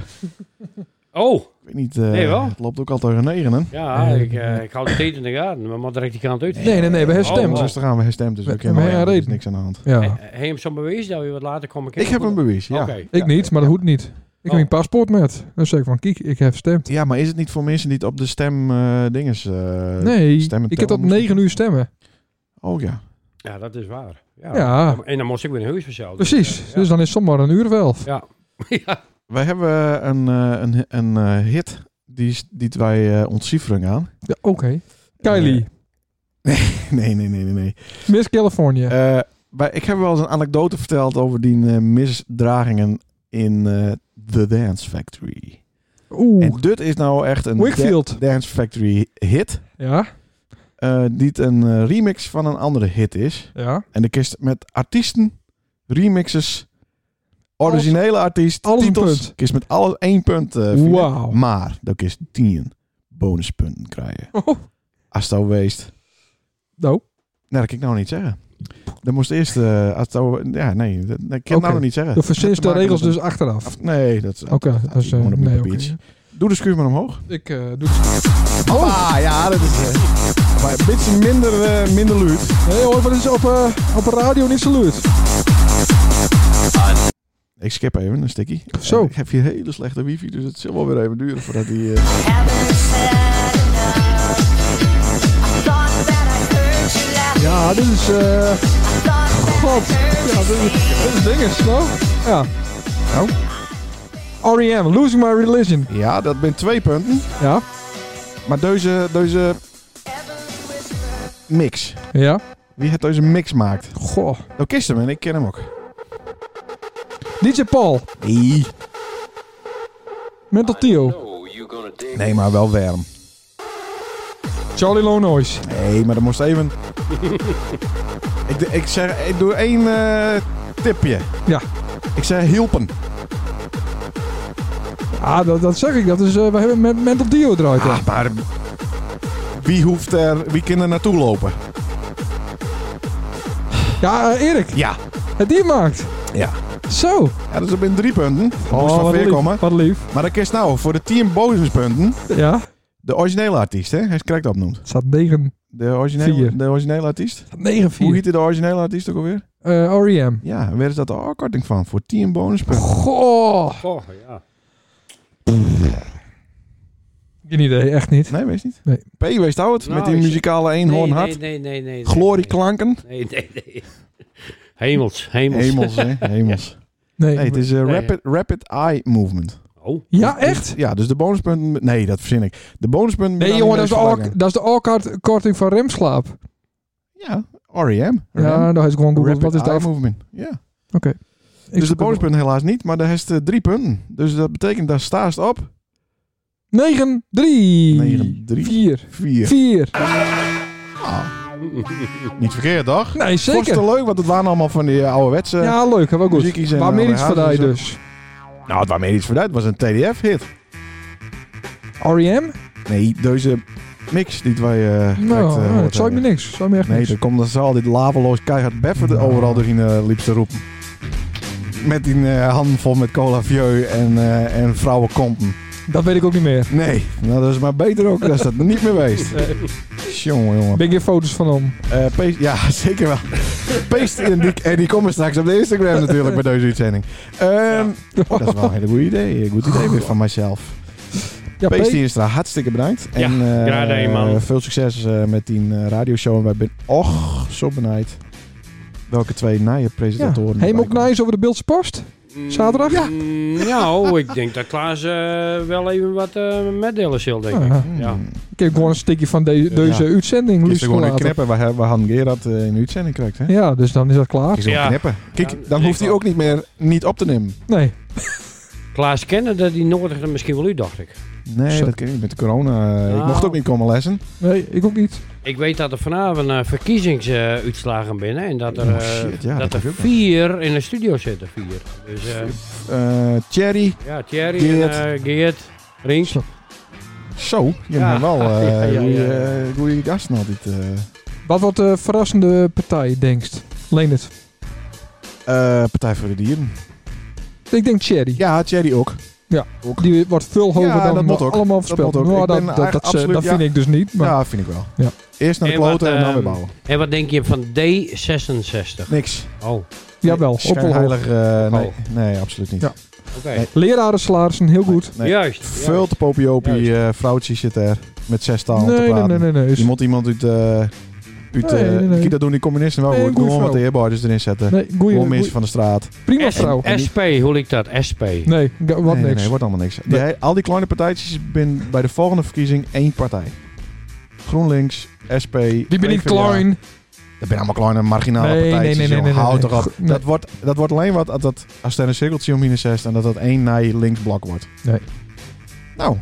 Speaker 5: Oh,
Speaker 3: ik weet niet. eh,
Speaker 5: Nee, wel?
Speaker 3: Het loopt ook al tegen negenen.
Speaker 5: ja, ik, eh, ik hou de tijd in de gaten. We moeten direct die kant uit.
Speaker 1: Nee, nee, nee. We
Speaker 5: Oh,
Speaker 1: herstemmen.
Speaker 5: wow.
Speaker 3: Rustig aan, we herstemd, dus we
Speaker 1: We-
Speaker 3: kennen
Speaker 1: we
Speaker 3: elkaar, er is
Speaker 1: reden.
Speaker 3: niks aan de hand.
Speaker 1: Ja.
Speaker 5: He- Heb je hem zo'n bewijs dat we wat later komen
Speaker 3: Ik
Speaker 5: kijken?
Speaker 3: heb een bewijs, ja.
Speaker 5: Oké.
Speaker 1: Ik niet, maar dat hoeft niet. Ik heb
Speaker 5: Oh.
Speaker 1: mijn paspoort met. Dan zeg ik van, kijk, ik heb gestemd.
Speaker 3: Ja, maar is het niet voor mensen die het op de stem eh dinges... eh,
Speaker 1: Nee,
Speaker 3: stemmen
Speaker 1: ik heb tot
Speaker 3: tellen moest
Speaker 1: 9 uur stemmen.
Speaker 3: Oh ja.
Speaker 5: Ja, dat is waar. Ja.
Speaker 1: Ja,
Speaker 5: En dan moest ik weer een huis verzeld.
Speaker 1: precies. Dus dan is het zomaar een uur of elf.
Speaker 5: Ja. ja.
Speaker 3: Wij hebben een, eh, een, een eh, hit die, s- die wij eh ontcijferen aan.
Speaker 1: Ja, Oké. Kylie,
Speaker 3: Nee, nee, nee, nee. nee.
Speaker 1: Miss California.
Speaker 3: Eh, wij- ik heb wel eens een anekdote verteld over die eh, misdragingen in eh, The Dance Factory.
Speaker 1: Oeh,
Speaker 3: eh, En dit is nou echt een
Speaker 1: Wakefield.
Speaker 3: Da- Dance Factory hit.
Speaker 1: Ja,
Speaker 3: eh, die het een eh, remix van een andere hit is.
Speaker 1: ja.
Speaker 3: En de kist met artiesten, remixes, originele artiest,
Speaker 1: alles een
Speaker 3: titels.
Speaker 1: punt.
Speaker 3: Kist met alles één punt. eh, vinden.
Speaker 1: Wauw.
Speaker 3: Maar dat kist tien bonuspunten krijgen.
Speaker 1: Oh,
Speaker 3: Als het al weest.
Speaker 1: nou.
Speaker 3: Nou, dat kan ik nou niet zeggen. Dan moest eerst... eh, als het al- ja, nee, dat, dat kan ik
Speaker 1: Oké.
Speaker 3: nou nog niet zeggen.
Speaker 1: De verzinst de
Speaker 3: Dat te maken
Speaker 1: regels
Speaker 3: met
Speaker 1: dus achteraf.
Speaker 3: een- Nee, dat
Speaker 1: Oké, dat is... eh,
Speaker 3: gewoon op mijn
Speaker 1: nee,
Speaker 3: papiertje.
Speaker 1: oké.
Speaker 3: Doe de schuur maar omhoog.
Speaker 1: Ik eh, doe het. Oh.
Speaker 3: Ah, ja, dat is... eh, maar een beetje minder, eh, minder luid.
Speaker 1: Nee hoor, wat is op, eh, op radio niet zo luid.
Speaker 3: Ik skip even een stikkie.
Speaker 1: Zo.
Speaker 3: Ik heb hier hele slechte wifi, dus het zal wel weer even duren voordat die... eh,
Speaker 1: Ja, dit is... eh. God. Ja, dit is, dit is dinges, nou. Ja.
Speaker 3: Nou?
Speaker 1: R.E.M. Losing My Religion.
Speaker 3: Ja, dat zijn twee punten.
Speaker 1: Ja.
Speaker 3: Maar deze... deze mix.
Speaker 1: Ja.
Speaker 3: Wie heeft deze mix maakt?
Speaker 1: Goh.
Speaker 3: Nou, kist hem en ik ken hem ook.
Speaker 1: DJ Paul.
Speaker 3: Nee.
Speaker 1: Mental Theo.
Speaker 3: Nee, maar wel warm.
Speaker 1: Charlie Lonois.
Speaker 3: Nee, maar dat moest even. ik, ik zeg, ik doe één eh, tipje.
Speaker 1: Ja.
Speaker 3: Ik zeg hielpen.
Speaker 1: Ah, dat, dat zeg ik. Dat is, eh, we hebben met Mental Theo eruit. hè.
Speaker 3: Ah, maar wie hoeft er, wie kan er naartoe lopen?
Speaker 1: Ja, eh, Erik.
Speaker 3: Ja.
Speaker 1: Het die maakt.
Speaker 3: Ja.
Speaker 1: Zo.
Speaker 3: Ja, dat is binnen drie punten. Dat moest
Speaker 1: Oh, wat
Speaker 3: van veer
Speaker 1: lief,
Speaker 3: komen.
Speaker 1: Wat lief.
Speaker 3: Maar dan kiest nou voor de team bonuspunten
Speaker 1: Ja.
Speaker 3: de originele artiest, hè? Hij is het correct opnoemt.
Speaker 1: Het staat 9.
Speaker 3: De originele,
Speaker 1: Vier.
Speaker 3: de originele artiest.
Speaker 1: 9
Speaker 3: Hoe
Speaker 1: 4.
Speaker 3: heette de originele artiest ook alweer?
Speaker 1: Eh, R.E.M.
Speaker 3: Ja, en waar is dat de afkorting van? Voor team bonuspunten.
Speaker 1: Oh. Goh.
Speaker 5: Goh, ja.
Speaker 1: Geen idee. Echt niet.
Speaker 3: Nee, wees niet.
Speaker 1: Nee.
Speaker 3: P, wees het oud
Speaker 5: Nou,
Speaker 3: met die
Speaker 5: ik-
Speaker 3: muzikale eenhoorn hart.
Speaker 5: nee, nee, nee, nee. nee.
Speaker 3: Glorieklanken.
Speaker 5: Nee, nee, nee. Hemels, hemels.
Speaker 3: Hemels, hè? Hemels.
Speaker 1: Nee.
Speaker 3: Nee, het is eh,
Speaker 5: Nee.
Speaker 3: rapid, rapid Eye Movement.
Speaker 5: Oh,
Speaker 1: Ja, echt?
Speaker 3: Ja, dus de bonuspunten... Nee, dat verzin ik. De bonuspunten...
Speaker 1: Nee,
Speaker 3: benamingen
Speaker 1: jongen, dat is de
Speaker 3: vervangen.
Speaker 1: al- dat is de all-korting van remslaap.
Speaker 3: Ja, E R.E.M.
Speaker 1: Ja, nou is gewoon
Speaker 3: Rapid
Speaker 1: Google. Wat is
Speaker 3: Eye
Speaker 1: dat?
Speaker 3: Movement. Ja.
Speaker 1: Ik
Speaker 3: Dus de
Speaker 1: zoek het op.
Speaker 3: bonuspunten helaas niet, maar daar heeft eh, drie punten. Dus dat betekent, daar staat het op
Speaker 1: 9, 3.
Speaker 3: 9, 3.
Speaker 1: 4.
Speaker 3: vier. Ah,
Speaker 1: 4.
Speaker 3: Niet verkeerd, toch?
Speaker 1: Nee,
Speaker 3: Vond je het
Speaker 1: zeker.
Speaker 3: leuk, want het waren allemaal van die eh, ouderwetse...
Speaker 1: Ja, leuk. Wel goed.
Speaker 3: muziekjes en eh,
Speaker 1: Waar meer
Speaker 3: allerlei
Speaker 1: iets voor
Speaker 3: hazen
Speaker 1: die
Speaker 3: en
Speaker 1: dus? dus?
Speaker 3: Nou, het was meer iets vooruit. Het was een TDF-hit.
Speaker 1: R.E.M.?
Speaker 3: Nee, deze mix die wij... eh net, eh,
Speaker 1: Nou,
Speaker 3: hoort
Speaker 1: dat zou me
Speaker 3: hebben.
Speaker 1: niks. Zou me echt
Speaker 3: Nee,
Speaker 1: niks.
Speaker 3: dan komt dan zal dit laveloos keihard Beffer er overal doorheen eh, liep te roepen. Met die eh, handen vol met cola vieux en, eh en vrouwenkompen.
Speaker 1: Dat weet ik ook niet meer.
Speaker 3: Nee, nou dat is maar beter ook dat is dat niet meer geweest. Jongen, jongen.
Speaker 1: Ben ik hier foto's van om?
Speaker 3: Eh, Pees- ja, zeker wel. Peest en die, en die komen straks op de Instagram natuurlijk bij deze uitzending. Ehm, oh, dat is wel een hele goed idee. Een goed idee weer van mijzelf.
Speaker 1: Ja,
Speaker 3: Pees
Speaker 1: Pees.
Speaker 3: Hielstra, hartstikke bedankt.
Speaker 5: Ja,
Speaker 3: en eh,
Speaker 5: graag gedaan, man.
Speaker 3: veel succes eh, met die eh, radioshow. En wij zijn och zo benijd welke twee nieuwe
Speaker 1: Ja.
Speaker 3: presentatoren.
Speaker 1: Heem
Speaker 3: erbij
Speaker 1: ook
Speaker 3: komen.
Speaker 1: nice nou over de Beeldse Post? Zaterdag?
Speaker 5: Mm, Ja. Nou, ik denk dat Klaas eh, wel even wat eh meddelen zal, denk ik.
Speaker 1: Ah, Ja.
Speaker 5: Ja.
Speaker 1: Ik heb gewoon een stukje van de- deze uitzending.
Speaker 3: Hmm. Is er
Speaker 1: liefst
Speaker 3: gewoon een
Speaker 1: later.
Speaker 3: knippen waar, hij- waar Han Gerard eh, in de uitzending krijgt. Hè?
Speaker 1: Ja, dus dan is dat klaar.
Speaker 3: Is er
Speaker 5: Ja.
Speaker 3: een knippen. Kijk,
Speaker 5: Ja,
Speaker 3: dan
Speaker 5: ik
Speaker 3: hoeft hij
Speaker 5: wel.
Speaker 3: ook niet meer niet op te nemen.
Speaker 1: Nee.
Speaker 5: Klaas kende die nodigde misschien wel u, dacht ik.
Speaker 3: Nee,
Speaker 1: Zo.
Speaker 3: dat ken ik niet met de corona. Ik
Speaker 5: Nou.
Speaker 3: mocht ook niet komen lessen.
Speaker 1: Nee, ik ook niet.
Speaker 5: Ik weet dat er vanavond eh, verkiezingsuitslagen binnen en dat er,
Speaker 3: Oh,
Speaker 5: eh,
Speaker 3: shit, ja,
Speaker 5: dat
Speaker 3: dat
Speaker 5: er
Speaker 3: heb ik ook.
Speaker 5: vier in de studio zitten. Vier. Dus eh,
Speaker 3: Eh Thierry.
Speaker 5: ja, Thierry,
Speaker 3: Geert.
Speaker 5: Geert, en, eh, Geert Rink.
Speaker 1: Zo.
Speaker 3: Zo, je
Speaker 5: Ja.
Speaker 3: bent wel eh
Speaker 5: Ja, ja,
Speaker 3: goeie,
Speaker 5: ja.
Speaker 3: eh, goeie gasten altijd. eh.
Speaker 1: Wat wordt de verrassende partij, denkst? Leen het.
Speaker 3: Eh, Partij voor de Dieren.
Speaker 1: Ik denk Thierry.
Speaker 3: Ja, Thierry ook.
Speaker 1: Die wordt veel hoger
Speaker 3: Ja,
Speaker 1: dan
Speaker 3: dat moet ook.
Speaker 1: allemaal
Speaker 3: Dat
Speaker 1: voorspeld.
Speaker 3: moet ook.
Speaker 1: Nou,
Speaker 3: Ik
Speaker 1: dat,
Speaker 3: ben
Speaker 1: dat, dat,
Speaker 3: eigenlijk
Speaker 1: dat
Speaker 3: absoluut-
Speaker 1: vind ik dus niet. Maar
Speaker 3: Ja, vind ik wel.
Speaker 1: Ja.
Speaker 3: Eerst naar de
Speaker 5: En wat,
Speaker 3: kloten en dan weer
Speaker 5: ehm,
Speaker 3: bouwen.
Speaker 5: En wat denk je van D66?
Speaker 3: Niks.
Speaker 5: Oh, oké.
Speaker 1: jawel, op wel hoog.
Speaker 3: Schijnheilig. eh,
Speaker 5: Ook
Speaker 3: nee, nee, absoluut niet.
Speaker 1: Ja. Lerarensalarissen, heel goed.
Speaker 3: Nee.
Speaker 5: Juist.
Speaker 3: Veel te popiopie eh vrouwtje zit er met zes talen te
Speaker 1: Nee, nee,
Speaker 3: praten.
Speaker 1: nee, nee. nee.
Speaker 3: Je moet iemand uit... eh uit
Speaker 1: Nee,
Speaker 3: eh,
Speaker 1: nee, nee.
Speaker 3: Kijk, dat doen die communisten wel
Speaker 1: Nee,
Speaker 3: goed.
Speaker 1: een goeie
Speaker 3: Gewoon wat de
Speaker 1: vrouw.
Speaker 3: heerbaarders erin zetten.
Speaker 1: Nee, goeie,
Speaker 3: Gewoon mensen
Speaker 1: goeie-
Speaker 3: van de straat.
Speaker 1: Prima
Speaker 5: S-
Speaker 1: vrouw.
Speaker 5: SP, hoe ik dat? SP.
Speaker 1: Nee, ga- wat
Speaker 3: nee, nee,
Speaker 1: niks.
Speaker 3: nee, wordt allemaal niks. Die- al die kleine partijtjes ben bij de volgende verkiezing één partij. GroenLinks, SP,
Speaker 1: Die ben niet
Speaker 3: PvdA.
Speaker 1: klein.
Speaker 3: Dat zijn allemaal kleine marginale
Speaker 1: Nee, nee,
Speaker 3: partijtjes.
Speaker 1: nee,
Speaker 3: Nee,
Speaker 1: nee, nee, nee,
Speaker 3: Houd toch
Speaker 1: nee.
Speaker 3: op.
Speaker 1: Goed, nee.
Speaker 3: Dat, wordt, dat wordt alleen wat als, dat, als er een cirkeltje om in zest en dat dat één nij linksblok wordt.
Speaker 1: Nee.
Speaker 3: Nou,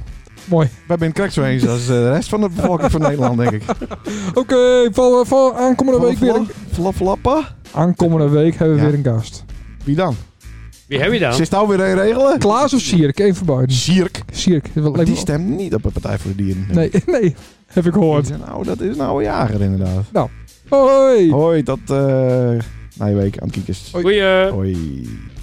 Speaker 1: Mooi.
Speaker 3: wij zijn correct zo eens als eh, de rest van de bevolking van Nederland, denk ik.
Speaker 1: Oké, voor, voor aankomende week weer een,
Speaker 3: Flapflappa?
Speaker 1: Aankomende week hebben we
Speaker 3: Ja.
Speaker 1: weer een gast.
Speaker 3: Wie dan?
Speaker 5: Wie heb je dan?
Speaker 3: Zit nou weer een regelen?
Speaker 1: Klaas of Sierk? Eén van beiden.
Speaker 3: Zierk.
Speaker 1: Sierk. dat
Speaker 3: Maar
Speaker 1: lijkt
Speaker 3: die
Speaker 1: me-
Speaker 3: stemt niet op de Partij voor de Dieren.
Speaker 1: Nee, nee. Heb ik
Speaker 3: Die
Speaker 1: gehoord.
Speaker 3: zijn Nou, dat is nou een jager inderdaad.
Speaker 1: Hoi.
Speaker 3: Hoi, tot eh na je week aan het kiekers.
Speaker 5: Goeie.
Speaker 3: Hoi.